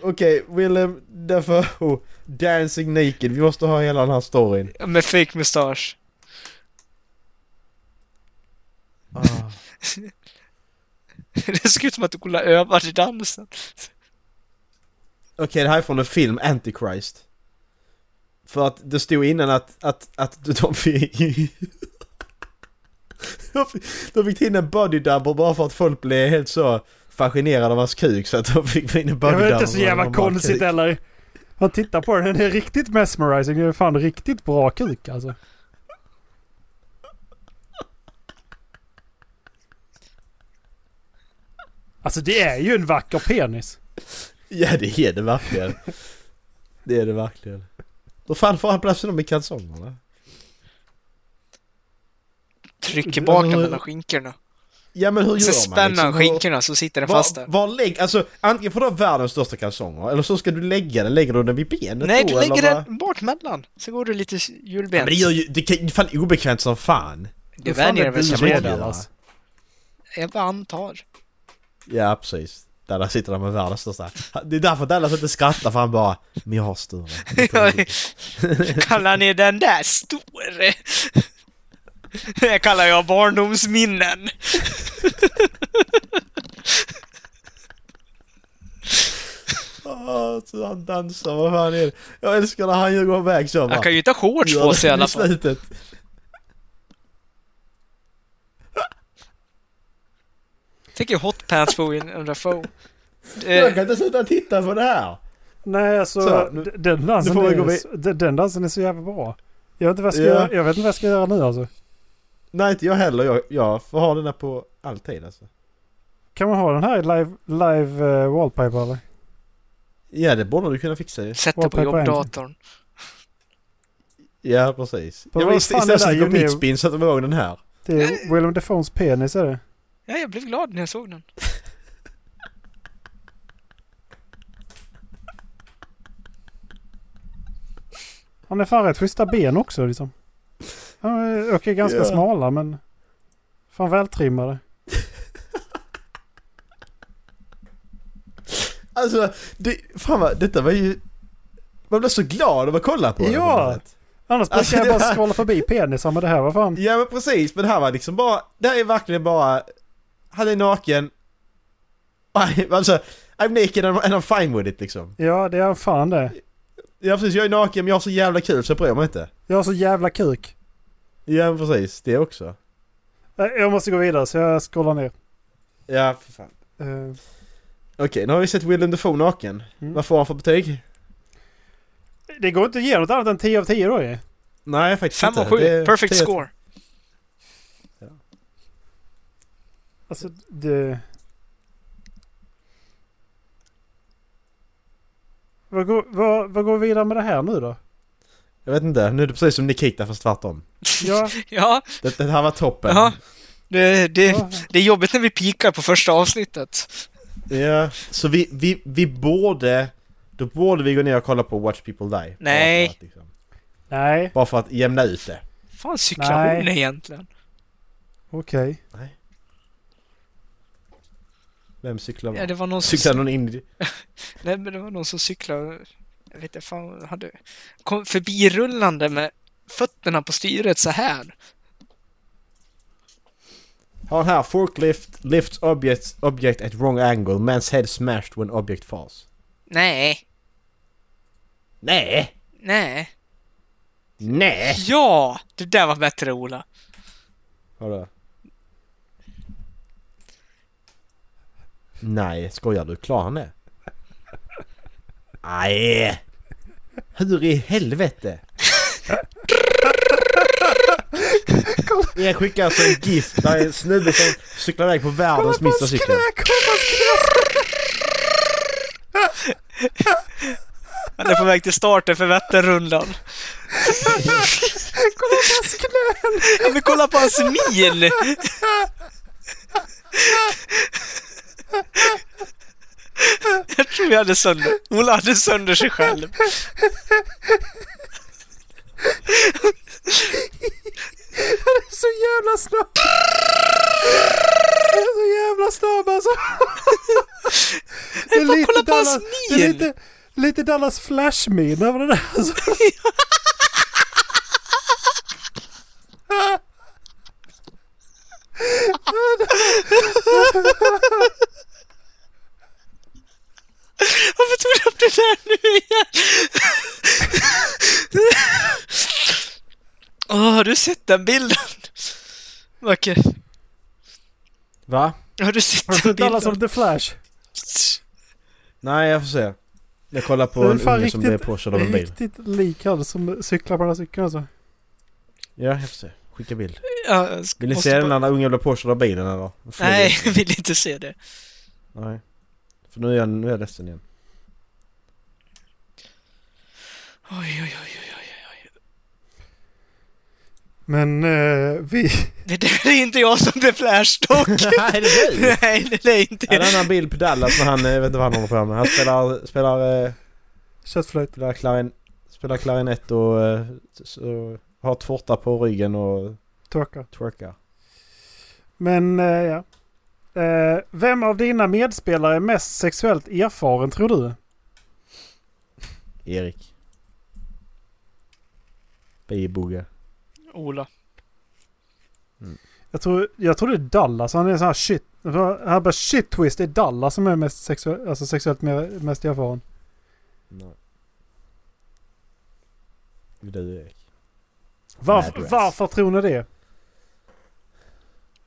Speaker 6: Okej, Willem Dafoe, Dancing Naked. Vi måste ha hela den här storyn.
Speaker 5: Med fake mustasch.
Speaker 6: Ah.
Speaker 5: Det såg ut som att du kollade övade dansen.
Speaker 6: Okej, det här är från en film, Antichrist. För att det stod innan att, att, att de fick... De fick- de fick in en body double bara för att folk blev helt så fascinerade av hans kuk så att de fick in en body
Speaker 4: Det
Speaker 6: double.
Speaker 4: var inte så
Speaker 6: av en
Speaker 4: jävla
Speaker 6: normal
Speaker 4: konstigt
Speaker 6: kuk.
Speaker 4: heller. Man tittar på den, den är riktigt mesmerizing. Det är fan riktigt bra kuk alltså. Alltså det är ju en vacker penis.
Speaker 6: Ja, det är det verkligen. Det är det verkligen. Då fan får han plötsligt dem i kalsongerna.
Speaker 5: Trycker bak den
Speaker 6: Alltså,
Speaker 5: mellan skinkorna.
Speaker 6: Ja men liksom, hur gör
Speaker 5: Sen
Speaker 6: man?
Speaker 5: spänner han
Speaker 6: Hur-
Speaker 5: skinkorna så sitter den
Speaker 6: Var,
Speaker 5: fast där.
Speaker 6: var lägg, alltså antingen får du ha världens största kalsonger eller så ska du lägga den, lägger du den vid benet
Speaker 5: Nej,
Speaker 6: då,
Speaker 5: du
Speaker 6: eller
Speaker 5: lägger
Speaker 6: vad?
Speaker 5: den bak mellan. Så går du lite
Speaker 6: Ja,
Speaker 5: hjulbent.
Speaker 6: men det gör ju, det kan- det är fan obekvämt som fan.
Speaker 5: Du
Speaker 4: Hur fan
Speaker 5: vänjer
Speaker 4: är
Speaker 5: dig väl
Speaker 4: du
Speaker 5: som
Speaker 6: man-
Speaker 4: redan, alltså?
Speaker 5: Jag bara antar.
Speaker 6: Ja precis. Där, där sitter han med världens största. Det är därför Dallas inte skrattar för han bara Men jag har större.
Speaker 5: Kallar ni den där stor? Det kallar jag barndomsminnen.
Speaker 6: Åh, så han dansar, vad fan är det? Jag älskar när han går iväg så bara.
Speaker 5: Han kan ju inte ha shorts
Speaker 6: Gör
Speaker 5: på
Speaker 6: det
Speaker 5: sig i alla
Speaker 6: i
Speaker 5: fall.
Speaker 6: slutet.
Speaker 5: Tänk er hotpants på William Dafoe.
Speaker 6: Jag
Speaker 5: Eh,
Speaker 6: kan inte sluta titta på det här.
Speaker 4: Nej alltså
Speaker 6: Så, nu-
Speaker 4: d- den, dansen
Speaker 6: nu får vi gå
Speaker 4: är,
Speaker 6: vid-
Speaker 4: så- d- den dansen är så jävla bra. Jag vet inte vad jag ska,
Speaker 6: Ja.
Speaker 4: göra, jag vet inte vad jag ska göra nu alltså.
Speaker 6: Nej inte jag heller, jag, jag får ha den där på alltid alltså.
Speaker 4: Kan man ha den här i live, live eh, wallpaper eller?
Speaker 6: Ja det borde du kunna fixa ju.
Speaker 5: Sätt det på
Speaker 4: Wallpaper
Speaker 5: jobbdatorn.
Speaker 6: Ja precis.
Speaker 4: Men
Speaker 6: Jag
Speaker 4: vad
Speaker 6: vill
Speaker 4: fan
Speaker 6: istället
Speaker 4: är det
Speaker 6: sätta
Speaker 4: här?
Speaker 6: på mitt spin så att de ihåg den här.
Speaker 4: Det är Willem Dafoes penis är det.
Speaker 5: Ja, jag blev glad när jag såg den.
Speaker 4: Han är fan rätt schyssta ben också liksom. Han är, och är ganska
Speaker 6: Ja.
Speaker 4: smala men fan vältrimmade.
Speaker 6: Alltså, det, fan vad, detta var ju... Man blev så glad av att kolla på det.
Speaker 4: Ja.
Speaker 6: på något sätt.
Speaker 4: Annars
Speaker 6: Alltså,
Speaker 4: brukar jag
Speaker 6: det
Speaker 4: bara
Speaker 6: här-
Speaker 4: skrolla förbi penisar men det här var fan.
Speaker 6: Ja men precis, men det här var liksom bara, det här är verkligen bara, han är naken, I- alltså I'm naked and and I'm fine with it liksom.
Speaker 4: Ja det är fan det.
Speaker 6: Ja precis, jag är naken men jag har så jävla kul så jag bryr mig inte.
Speaker 4: Jag har så jävla kuk.
Speaker 6: Ja men precis, det också.
Speaker 4: Äh, Jag måste gå vidare så jag scrollar ner.
Speaker 6: Ja för fan.
Speaker 4: Eh,
Speaker 6: Okej, nu har vi sett Willem Dafoe naken.
Speaker 4: Mm.
Speaker 6: Vad får han för betyg?
Speaker 4: Det går inte att ge något annat än 10 av 10 då ju.
Speaker 6: Nej, faktiskt
Speaker 5: Fem
Speaker 6: inte.
Speaker 5: och sju.
Speaker 6: Det är
Speaker 5: Perfect
Speaker 6: tio-
Speaker 5: score.
Speaker 4: Alltså det... Vad går, vad, vad går vi vidare med det här nu då?
Speaker 6: Jag vet inte, nu är det precis som Nikita fast tvärtom.
Speaker 4: Ja,
Speaker 5: Ja,
Speaker 6: Det, det här var toppen.
Speaker 5: ja. Det, det,
Speaker 4: ja.
Speaker 5: det är jobbigt när vi pikar på första avsnittet.
Speaker 6: Ja, så vi, vi, vi borde... Då borde vi gå ner och kolla på Watch People Die.
Speaker 5: Nej.
Speaker 6: Bara för att, liksom,
Speaker 4: Nej,
Speaker 6: bara för att jämna ut det.
Speaker 5: fan cyklar hon
Speaker 4: Nej.
Speaker 5: egentligen?
Speaker 4: okej.
Speaker 6: Vem cyklar
Speaker 5: Ja,
Speaker 6: var?
Speaker 5: det var någon som
Speaker 6: Cyklar någon in i...
Speaker 5: Nej, men det var någon som cyklade, jag vet inte fan, hade, kom förbi rullande med fötterna på styret så här.
Speaker 6: Har den här forklift lifts object, object at wrong angle, man's head smashed when object falls.
Speaker 5: Nej,
Speaker 6: Nej!
Speaker 5: nej.
Speaker 6: Nej!
Speaker 5: Ja, det där var bättre Ola.
Speaker 6: Vadå? Nej, skojar du? Klarar han det? Nej! Hur i helvete? Jag skickar alltså en GIF där en snubbe som cyklar iväg på världens minsta cykel.
Speaker 5: Han är på väg till starten för Vätternrundan. kolla på hans knän! Ja, men kolla på hans mil! Jag tror jag hade sönder... Ola hade sönder sig själv.
Speaker 4: Så jävla snabb! Jag är så jävla snabb alltså! Det är
Speaker 5: bara kolla på hans
Speaker 4: det är
Speaker 5: mil.
Speaker 4: lite, lite Dallas Flash-min över det där alltså.
Speaker 5: Varför tog du upp det där nu igen? Åh, har du sett den bilden? Macke,
Speaker 6: Va?
Speaker 5: har du sett
Speaker 4: Alltså
Speaker 5: den bilden?
Speaker 4: Dallas som The Flash.
Speaker 6: Nej, jag får se. Jag kollar
Speaker 4: Det
Speaker 6: på
Speaker 4: är
Speaker 6: en
Speaker 4: fan
Speaker 6: unge som
Speaker 4: riktigt-
Speaker 6: blev påkörd av en bil.
Speaker 4: Riktigt lik han som cyklar på den här cykeln alltså.
Speaker 6: Ja, jag får se. Skicka bild.
Speaker 5: Ja, jag
Speaker 6: Vill ni
Speaker 5: måste
Speaker 6: se den
Speaker 5: bara-
Speaker 6: när den ungen blev påkörd av bilen eller?
Speaker 5: Nej, jag vill inte se det.
Speaker 6: Nej. För nu är jag, nu är jag ledsen igen.
Speaker 5: Oj, oj, oj, oj, oj.
Speaker 4: Men eh, vi...
Speaker 5: Det där är inte jag som The Flash dock.
Speaker 6: Nej, det är du!
Speaker 5: Nej, det där är inte
Speaker 6: En annan bild på Dallas när han, eh, jag vet inte vad han håller på med. Han spelar, spelar, eh,
Speaker 4: Köttflöjt.
Speaker 6: spelar, klarin, spelar klarinett och, eh, så, har tårta på ryggen och
Speaker 4: Tårkar.
Speaker 6: twerkar.
Speaker 4: Men eh, ja. Eh, vem av dina medspelare är mest sexuellt erfaren tror du?
Speaker 6: Erik. Biboge.
Speaker 5: Ola.
Speaker 4: Jag tror, jag tror det är Dallas. Han är en sån här shit... Han bara shit twist. Det är Dallas som är mest sexuell, alltså sexuellt mer, mest erfaren.
Speaker 6: Nej. Du Erik.
Speaker 4: Varför,
Speaker 6: Madras.
Speaker 4: varför tror ni det?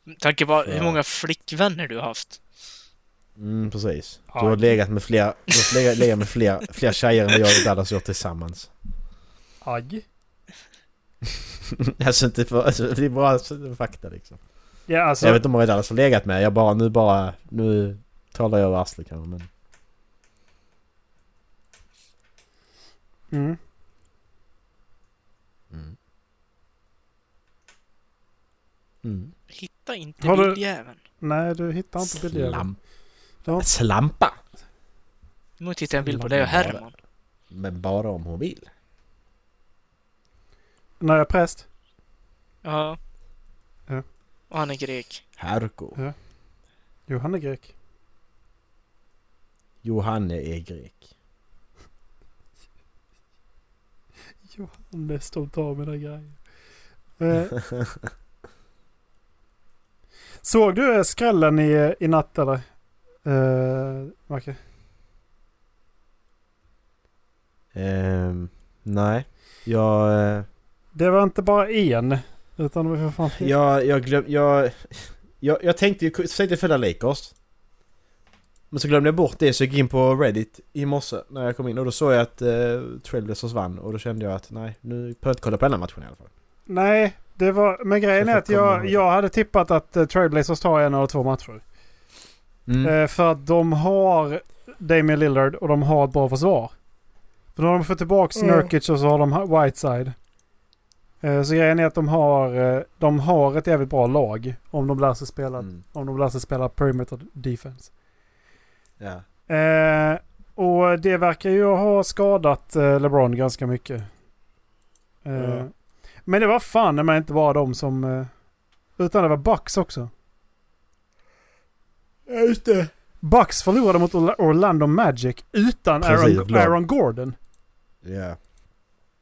Speaker 5: Med tanke på hur
Speaker 6: Ja.
Speaker 5: många flickvänner du har haft.
Speaker 6: Mm, precis.
Speaker 4: Ja.
Speaker 6: Du har legat med fler, du har legat, legat med fler, fler tjejer än jag och Dallas gjort tillsammans.
Speaker 4: Aj.
Speaker 6: Alltså inte för, alltså, det är bara alltså, fakta liksom.
Speaker 4: Ja alltså.
Speaker 6: Jag vet inte hur många Dallas har legat med, jag bara, nu bara, nu talar jag över arslet kanske men...
Speaker 4: Mm.
Speaker 6: Mm.
Speaker 5: Hitta inte
Speaker 4: Har du-
Speaker 5: bildjäveln.
Speaker 4: Nej du hittar inte bilden. Ja.
Speaker 6: Slampa!
Speaker 5: Nu måste jag hitta en bild på dig och Herman.
Speaker 6: Men bara om hon vill.
Speaker 4: När jag är präst.
Speaker 5: Ja.
Speaker 4: Ja.
Speaker 5: Och han är grek.
Speaker 6: Herko.
Speaker 4: Jo han är grek.
Speaker 6: Johanne är grek.
Speaker 4: Jo han är stolt av mina grejer. Eh. Såg du eh, skrällen i, i natt eller? Eh, Macke?
Speaker 6: Ehm, nej. Jag, eh,
Speaker 4: Det var inte bara en. Utan det var för fan fler.
Speaker 6: jag, jag glöm, jag, jag, jag tänkte ju, tänkte följa Lakers. Men så glömde jag bort det så jag gick in på Reddit i morse när jag kom in och då såg jag att eh, Trailblazers vann och då kände jag att nej, nu behöver jag inte kolla på den här matchen i alla fall.
Speaker 4: Nej, det var, men grejen
Speaker 6: Jag
Speaker 4: är
Speaker 6: får
Speaker 4: att jag,
Speaker 6: komma
Speaker 4: jag hade tippat att eh, Trailblazers tar en eller två matcher.
Speaker 6: Mm.
Speaker 4: Eh, för att de har Damian Lillard och de har ett bra försvar. För nu har de fått tillbaka Nurkic och så har de ha- Whiteside. Eh, så grejen är att de har, eh, de har ett jävligt bra lag om de lär sig spela,
Speaker 6: Mm.
Speaker 4: om de lär sig spela perimeter defense.
Speaker 6: Ja.
Speaker 4: Eh, och det verkar ju ha skadat eh, LeBron ganska mycket. Eh,
Speaker 6: Ja.
Speaker 4: Men det var fan men inte bara de som... Eh, utan det var Bucks också.
Speaker 6: Just det.
Speaker 4: Bucks förlorade mot Orla- Orlando Magic utan
Speaker 6: Precis,
Speaker 4: Aaron,
Speaker 6: glad.
Speaker 4: Aaron Gordon.
Speaker 6: Ja.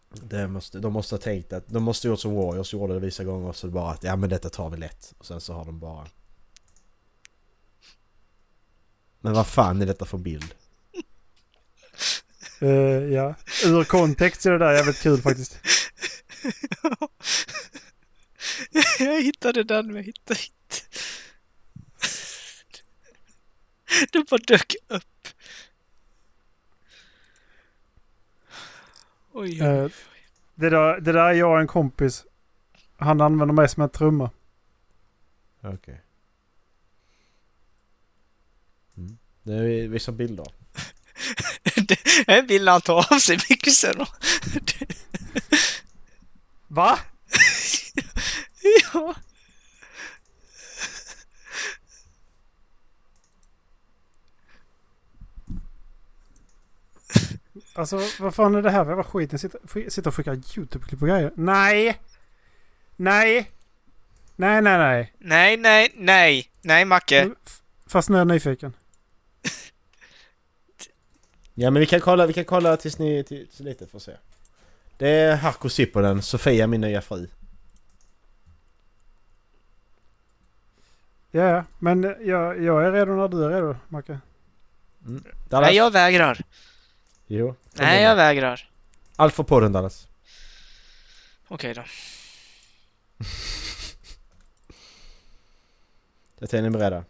Speaker 6: Det måste, de måste ha tänkt att, de måste ha gjort som Warriors gjorde det vissa gånger så bara att ja men detta tar vi lätt. Och sen så har de bara... Men vad fan är detta för bild?
Speaker 4: Eh, ja. Ur kontext är det där jävligt kul faktiskt.
Speaker 5: Jag hittade den men jag hittade inte. Den bara dök upp. Oj, oj.
Speaker 4: Eh, det, där, det där är jag och en kompis. Han använder mig som en trumma.
Speaker 6: Okej. Mm. Det är vissa bilder.
Speaker 5: Det är en bild när han tar av sig byxorna.
Speaker 4: Va?
Speaker 5: Ja.
Speaker 4: Alltså vad fan är det här för jävla skit? Jag sitter, sk- sitter och skickar YouTube-klipp och grejer. Nej! Nej! Nej, nej, nej.
Speaker 5: Nej, nej, nej. Nej, Macke.
Speaker 4: F- Fast nu är jag nyfiken.
Speaker 6: Ja men vi kan kolla, vi kan kolla tills ni, tills lite får se. Det är Hakko Sipponen, Sofia min nya fru.
Speaker 4: Ja, ja. Men eh, jag, jag är redo när du är redo, Macke.
Speaker 6: Dallas?
Speaker 5: Nej, jag vägrar.
Speaker 6: Jo.
Speaker 5: Nej, jag vägrar.
Speaker 6: Allt för podden Dallas.
Speaker 5: Okej då.
Speaker 6: Jag tänker ni är beredda.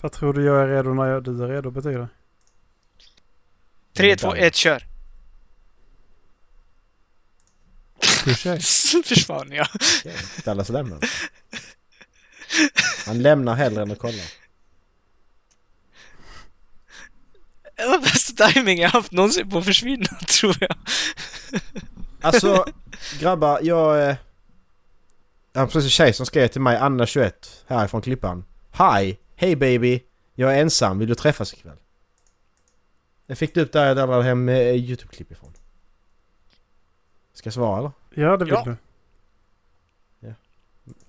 Speaker 4: Vad tror du jag är redo när jag, du är redo betyder?
Speaker 5: 3, 2, 1, kör.
Speaker 4: Touché.
Speaker 5: Så försvann jag.
Speaker 6: Okej, Dallas lämnar. Han lämnar hellre än att kolla.
Speaker 5: Det var bästa timing jag haft någonsin på att försvinna, tror jag.
Speaker 6: Alltså grabbar, jag... eh, Jag har precis en tjej som skrev till mig, Anna21, härifrån Klippan. Hi! Hej baby! Jag är ensam, vill du träffas ikväll? Jag fick upp där jag laddade hem eh, YouTube-klipp ifrån. Ska jag svara eller?
Speaker 4: Ja, det vill
Speaker 5: Ja.
Speaker 4: du.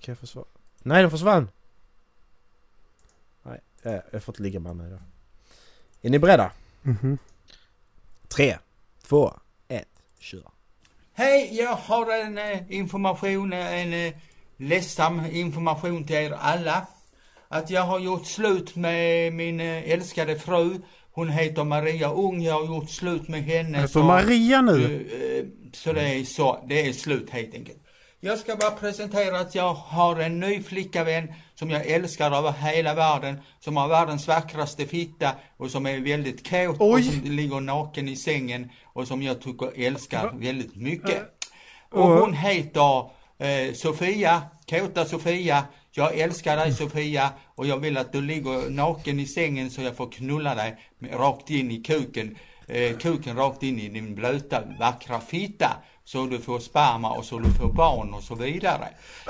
Speaker 6: Kan jag få svara? Nej, den försvann! Nej, eh, jag får inte ligga med Anna idag. Är ni beredda?
Speaker 4: Mhm.
Speaker 6: Tre, två, ett, kör!
Speaker 8: Hej, jag har en eh, information, eh, en eh, ledsam information till er alla. Att jag har gjort slut med min eh, älskade fru. Hon heter Maria Ung, jag har gjort slut med henne.
Speaker 4: Heter
Speaker 8: så-
Speaker 4: Maria nu?
Speaker 8: Eh, eh, Så det är så, det är slut helt enkelt. Jag ska bara presentera att jag har en ny flickavän som jag älskar över hela världen, som har världens vackraste fitta och som är väldigt kåt och
Speaker 4: Oj.
Speaker 8: som ligger naken i sängen och som jag tycker älskar väldigt mycket.
Speaker 4: Eh,
Speaker 8: Och
Speaker 4: och-
Speaker 8: hon heter eh, Sofia, kåta Sofia. Jag älskar dig Sofia och jag vill att du ligger naken i sängen så jag får knulla dig med- rakt in i kuken. Eh, kuken rakt in i din blöta vackra fitta. Så du får sperma och så du får barn och så vidare.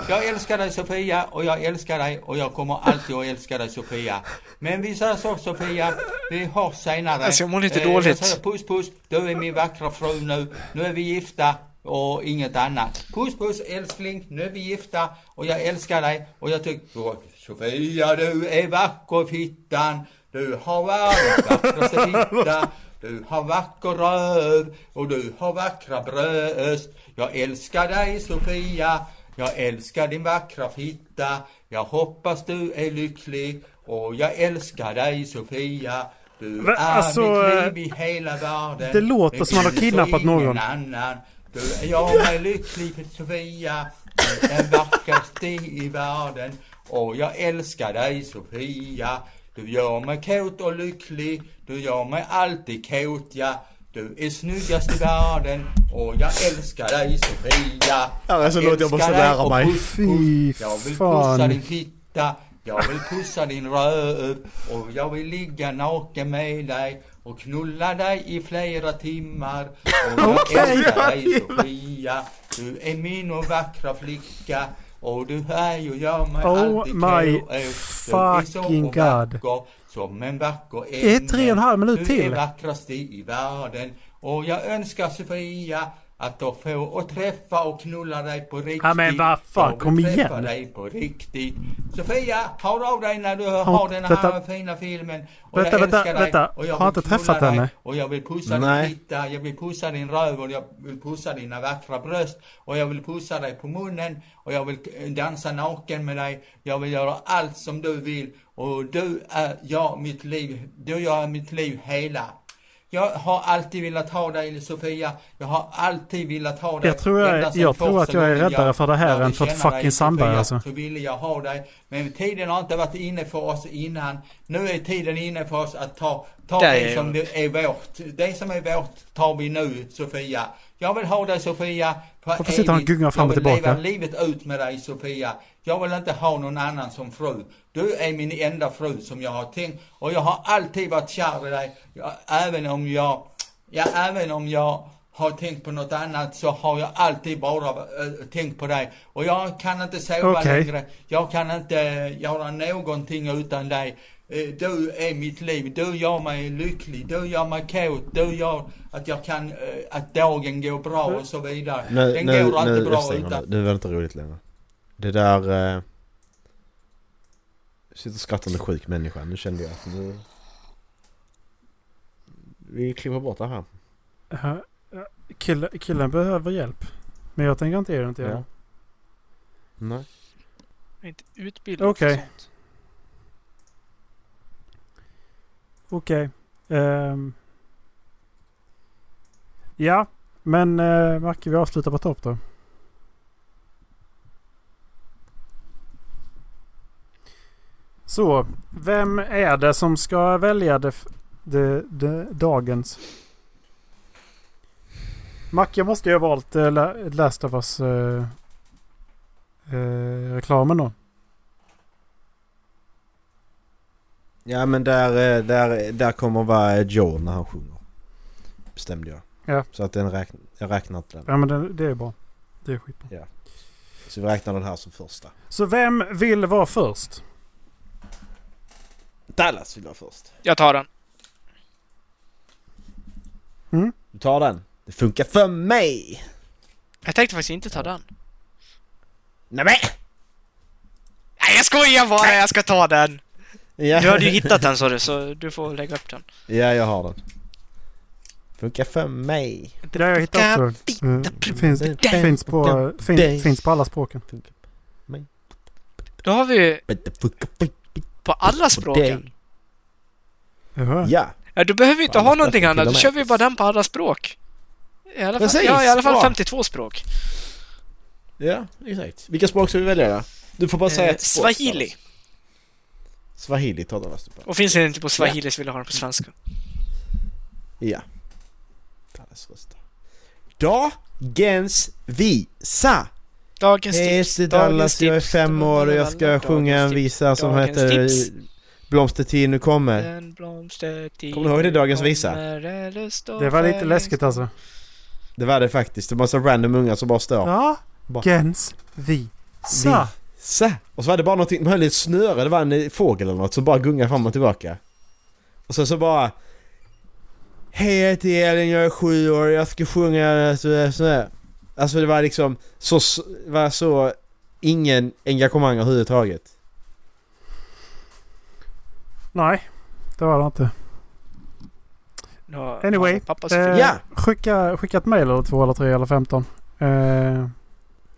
Speaker 8: Jag älskar dig Sofia och jag älskar dig och jag kommer alltid att älska dig Sofia. Men vi säger så Sofia, vi hörs senare. Eh,
Speaker 5: Alltså, jag mår lite
Speaker 8: jag
Speaker 5: dåligt.
Speaker 8: säger Puss puss, du är min vackra fru nu. Nu är vi gifta och inget annat. Puss puss älskling, nu är vi gifta och jag älskar dig och jag tycker Åh, Sofia du är vacker fittan. Du har världens vackraste fitta. Du har vacker röv och du har vackra bröst. Jag älskar dig Sofia. Jag älskar din vackra fitta. Jag hoppas du är lycklig. Och jag älskar dig Sofia. Du
Speaker 4: Va-
Speaker 8: är
Speaker 4: alltså,
Speaker 8: mitt
Speaker 4: eh,
Speaker 8: liv i hela världen.
Speaker 4: Det låter
Speaker 8: Men
Speaker 4: som han har
Speaker 8: finns
Speaker 4: kidnappat
Speaker 8: ingen
Speaker 4: någon.
Speaker 8: Annan. Du, jag är lycklig för Sofia, den vackraste i världen. Och jag älskar dig Sofia. Du gör mig kåt och lycklig, du gör mig alltid kåt ja. Du är snyggast i världen och jag älskar dig Sofia.
Speaker 6: Ja,
Speaker 4: alltså,
Speaker 6: så
Speaker 8: Jag
Speaker 6: låt jag måste
Speaker 8: älskar dig
Speaker 6: lära
Speaker 8: och
Speaker 6: mig.
Speaker 8: puss, puss.
Speaker 4: Fy
Speaker 8: Jag vill pussa
Speaker 4: fan.
Speaker 8: din fitta, jag vill pussa din röv och jag vill ligga naken med dig och knulla dig i flera timmar. Och jag älskar dig Sofia, du är min och vackra flicka och du är ju jag mig
Speaker 4: Oh
Speaker 8: alltid
Speaker 4: my
Speaker 8: kär och är.
Speaker 4: fucking
Speaker 8: Du är så
Speaker 4: god.
Speaker 8: vacker som en vacker
Speaker 4: Det är tre och en halv minut
Speaker 8: du
Speaker 4: till.
Speaker 8: är vackrast i världen och jag önskar Sofia att då få och träffa och knulla dig på riktigt.
Speaker 4: Ja, men vad fan,
Speaker 8: Jag vill
Speaker 4: kom
Speaker 8: träffa
Speaker 4: igen.
Speaker 8: dig på riktigt. Sofia, hör av dig när du
Speaker 4: Har-
Speaker 8: har den här
Speaker 4: vänta.
Speaker 8: fina filmen. Och
Speaker 4: Vänta,
Speaker 8: jag
Speaker 4: vänta,
Speaker 8: älskar dig,
Speaker 4: vänta.
Speaker 8: och jag
Speaker 4: Har
Speaker 8: vill
Speaker 4: inte
Speaker 8: knulla
Speaker 4: träffat
Speaker 8: dig,
Speaker 4: henne?
Speaker 8: Och jag vill pussa
Speaker 6: Nej.
Speaker 8: din fitta, jag vill pussa din röv och jag vill pussa dina vackra bröst. Och jag vill pussa dig på munnen och jag vill eh, dansa naken med dig. Jag vill göra allt som du vill. Och du är jag, mitt liv. Du jag är mitt liv hela. Jag har alltid velat ha dig Sofia. Jag har alltid velat ha dig.
Speaker 4: Jag tror jag-
Speaker 8: Ända sedan
Speaker 4: jag tror att jag är
Speaker 8: första gången
Speaker 4: räddare för det här
Speaker 8: lärde
Speaker 4: än för ett
Speaker 8: känna
Speaker 4: fucking
Speaker 8: dig,
Speaker 4: samband,
Speaker 8: Sofia,
Speaker 4: alltså.
Speaker 8: Så ville jag ha dig. Men tiden har inte varit inne för oss innan. Nu är tiden inne för oss att ta, ta
Speaker 5: Där
Speaker 8: det,
Speaker 5: är jag.
Speaker 8: som det är vårt. Det som är vårt tar vi nu Sofia. Jag vill ha dig Sofia. för
Speaker 4: Varför sitter han och
Speaker 8: evigt.
Speaker 4: gungar fram och tillbaka?
Speaker 8: Jag vill leva livet ut med dig Sofia. Jag vill inte ha någon annan som fru. Du är min enda fru som jag har tänkt och jag har alltid varit kär i dig. Jag, även om jag, ja även om jag har tänkt på något annat så har jag alltid bara eh, tänkt på dig. Och jag kan inte sova
Speaker 4: Okej.
Speaker 8: längre. Jag kan inte eh, göra någonting utan dig. Eh, Du är mitt liv, du gör mig lycklig, du gör mig kåt, du gör att jag kan, eh, att dagen går bra och så vidare.
Speaker 6: Nu,
Speaker 8: Den
Speaker 6: nu,
Speaker 8: går alltid
Speaker 6: nu,
Speaker 8: bra
Speaker 6: jag stänger
Speaker 8: utan
Speaker 6: nu. Nu var det inte roligt längre. Det där... Eh, sitter och skrattar med sjuk människa. Nu kände jag att nu... Vi klipper bort det här.
Speaker 4: Ja, ja, Kill, killen behöver hjälp. Men jag tänker inte ge den till
Speaker 6: Ja.
Speaker 4: honom.
Speaker 6: Nej.
Speaker 5: Jag är inte utbildad
Speaker 4: Okej.
Speaker 5: för sånt.
Speaker 4: Okej. Ehm. ja, men uh, Macke vi avslutar på topp då. Så, vem är det som ska välja det, f- det, det, dagens? Macke måste ju ha valt uh, Last of Us eh, eh, reklamen då.
Speaker 6: Ja men där, eh, där, där kommer vara eh, Joe när han sjunger. Bestämde jag.
Speaker 4: Ja.
Speaker 6: Så att den räkn, jag räknar inte den.
Speaker 4: Ja men det, det är bra. Det är skitbra.
Speaker 6: Så vi räknar den här som första.
Speaker 4: Så vem vill vara först?
Speaker 6: Dallas vill vara först.
Speaker 5: Jag tar den.
Speaker 6: Du tar den. Det funkar för mig!
Speaker 5: Jag tänkte faktiskt inte ta den.
Speaker 6: Nej men!
Speaker 5: Nej, jag skojar bara! Jag ska ta den!
Speaker 6: Ja.
Speaker 5: Du hade ju hittat den sa du, så du får lägga upp den.
Speaker 6: ja jag har den. Funkar för mig.
Speaker 4: Det har jag hittat också. Eh, Finns, finns, på, fin, finns på alla språken.
Speaker 5: Då har vi ju
Speaker 6: But the fuck up
Speaker 5: på alla
Speaker 6: for day.
Speaker 5: språken.
Speaker 4: Jaha.
Speaker 6: Ja,
Speaker 5: Ja, du behöver ju inte
Speaker 6: På
Speaker 5: ha
Speaker 6: alla
Speaker 5: någonting
Speaker 6: språken
Speaker 5: annat. Då
Speaker 6: till och
Speaker 5: kör
Speaker 6: med.
Speaker 5: vi bara den på alla språk. I alla fall,
Speaker 6: Precis,
Speaker 5: ja, i alla fall
Speaker 6: bra.
Speaker 5: 52 språk.
Speaker 6: ja exakt. Vilka språk ska vi välja då? Du får bara säga
Speaker 5: Eh,
Speaker 6: ett språk.
Speaker 5: swahili.
Speaker 6: Dallas. Swahili tar Dallas du på.
Speaker 5: Och finns den inte på swahili så vill jag ha den på svenska.
Speaker 6: Ja. Dallas röstar. Dagens visa!
Speaker 5: Dagens
Speaker 6: Hej,
Speaker 5: tips.
Speaker 6: det är Dallas. Jag är
Speaker 5: tips.
Speaker 6: fem år och jag ska
Speaker 5: Dagens
Speaker 6: sjunga en
Speaker 5: tips.
Speaker 6: visa som
Speaker 5: Dagens
Speaker 6: heter
Speaker 5: tips.
Speaker 6: Blomstertid nu kommer.
Speaker 5: Den blomstertid
Speaker 6: Kommer du ihåg det, dagens visa?
Speaker 5: kommer, eller står
Speaker 4: Det var lite
Speaker 5: för-
Speaker 4: läskigt alltså.
Speaker 6: Det var det faktiskt. Det var så random unga som bara står.
Speaker 4: Ja.
Speaker 6: Bara-
Speaker 4: Gens visa.
Speaker 6: Så. Och så var det bara någonting, de höll i ett snöre, det var en eh, fågel eller något som bara gungade fram och tillbaka. Och så, så bara... Hej jag heter Elin, jag är sju år, jag ska sjunga så- så här. Alltså det var liksom så, så- var så ingen engagemang överhuvudtaget.
Speaker 4: Nej, det var det inte.
Speaker 5: Nu har
Speaker 4: Anyway,
Speaker 5: mamma och pappa
Speaker 4: eh,
Speaker 5: eh...
Speaker 6: Ja!
Speaker 4: Skicka, skicka ett mejl eller två eller tre eller femton. Eh,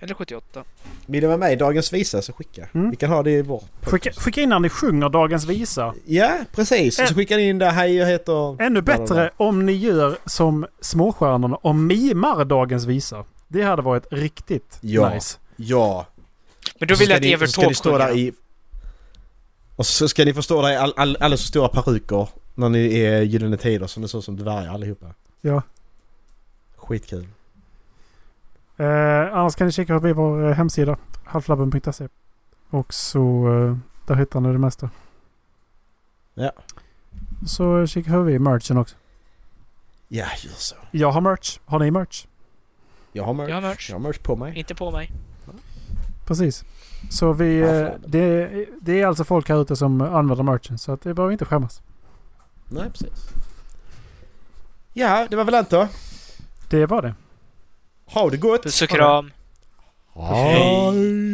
Speaker 5: Eller 78.
Speaker 6: Vill du vara med i Dagens Visa så skicka.
Speaker 4: Mm.
Speaker 6: Vi kan ha det i vår
Speaker 4: skicka, skicka Eh. in när ni sjunger dagens visa.
Speaker 6: Ja, precis. Och så skickar ni in där, hej jag heter...
Speaker 4: Ännu
Speaker 6: bla, bla, bla.
Speaker 4: bättre om ni gör som småstjärnorna och mimar dagens visa. Det hade varit riktigt
Speaker 6: Ja.
Speaker 4: nice.
Speaker 6: Ja.
Speaker 5: Men då
Speaker 6: Så
Speaker 5: vill jag
Speaker 6: ska
Speaker 5: att
Speaker 6: ni-
Speaker 5: Evert
Speaker 6: så ska ni
Speaker 5: Taube
Speaker 6: stå där
Speaker 5: sjunger.
Speaker 6: i... Och så ska ni förstå det, all, all, alldeles för stora peruker när ni är Gyllene Tider som det ser ut som dvärgar allihopa.
Speaker 4: Ja.
Speaker 6: Skitkul.
Speaker 4: Eh, annars kan ni kika förbi vår eh, hemsida. Halflabben.se. Och så eh, där hittar ni det mesta.
Speaker 6: Ja.
Speaker 4: Så eh, kika förbi merchen också.
Speaker 6: Ja, gör så.
Speaker 4: Jag har merch. Har ni merch?
Speaker 6: Jag har merch.
Speaker 5: Jag har merch.
Speaker 6: Jag har merch på mig.
Speaker 5: Inte på mig.
Speaker 4: Precis. Så vi, eh,
Speaker 6: Halflabben.
Speaker 4: det, det är alltså folk här ute som använder merchen. Så att det behöver vi inte skämmas.
Speaker 6: Nej, precis. Ja, det var väl allt då.
Speaker 4: Det var det.
Speaker 6: Ha det gott!
Speaker 5: Puss och kram.
Speaker 6: Hej!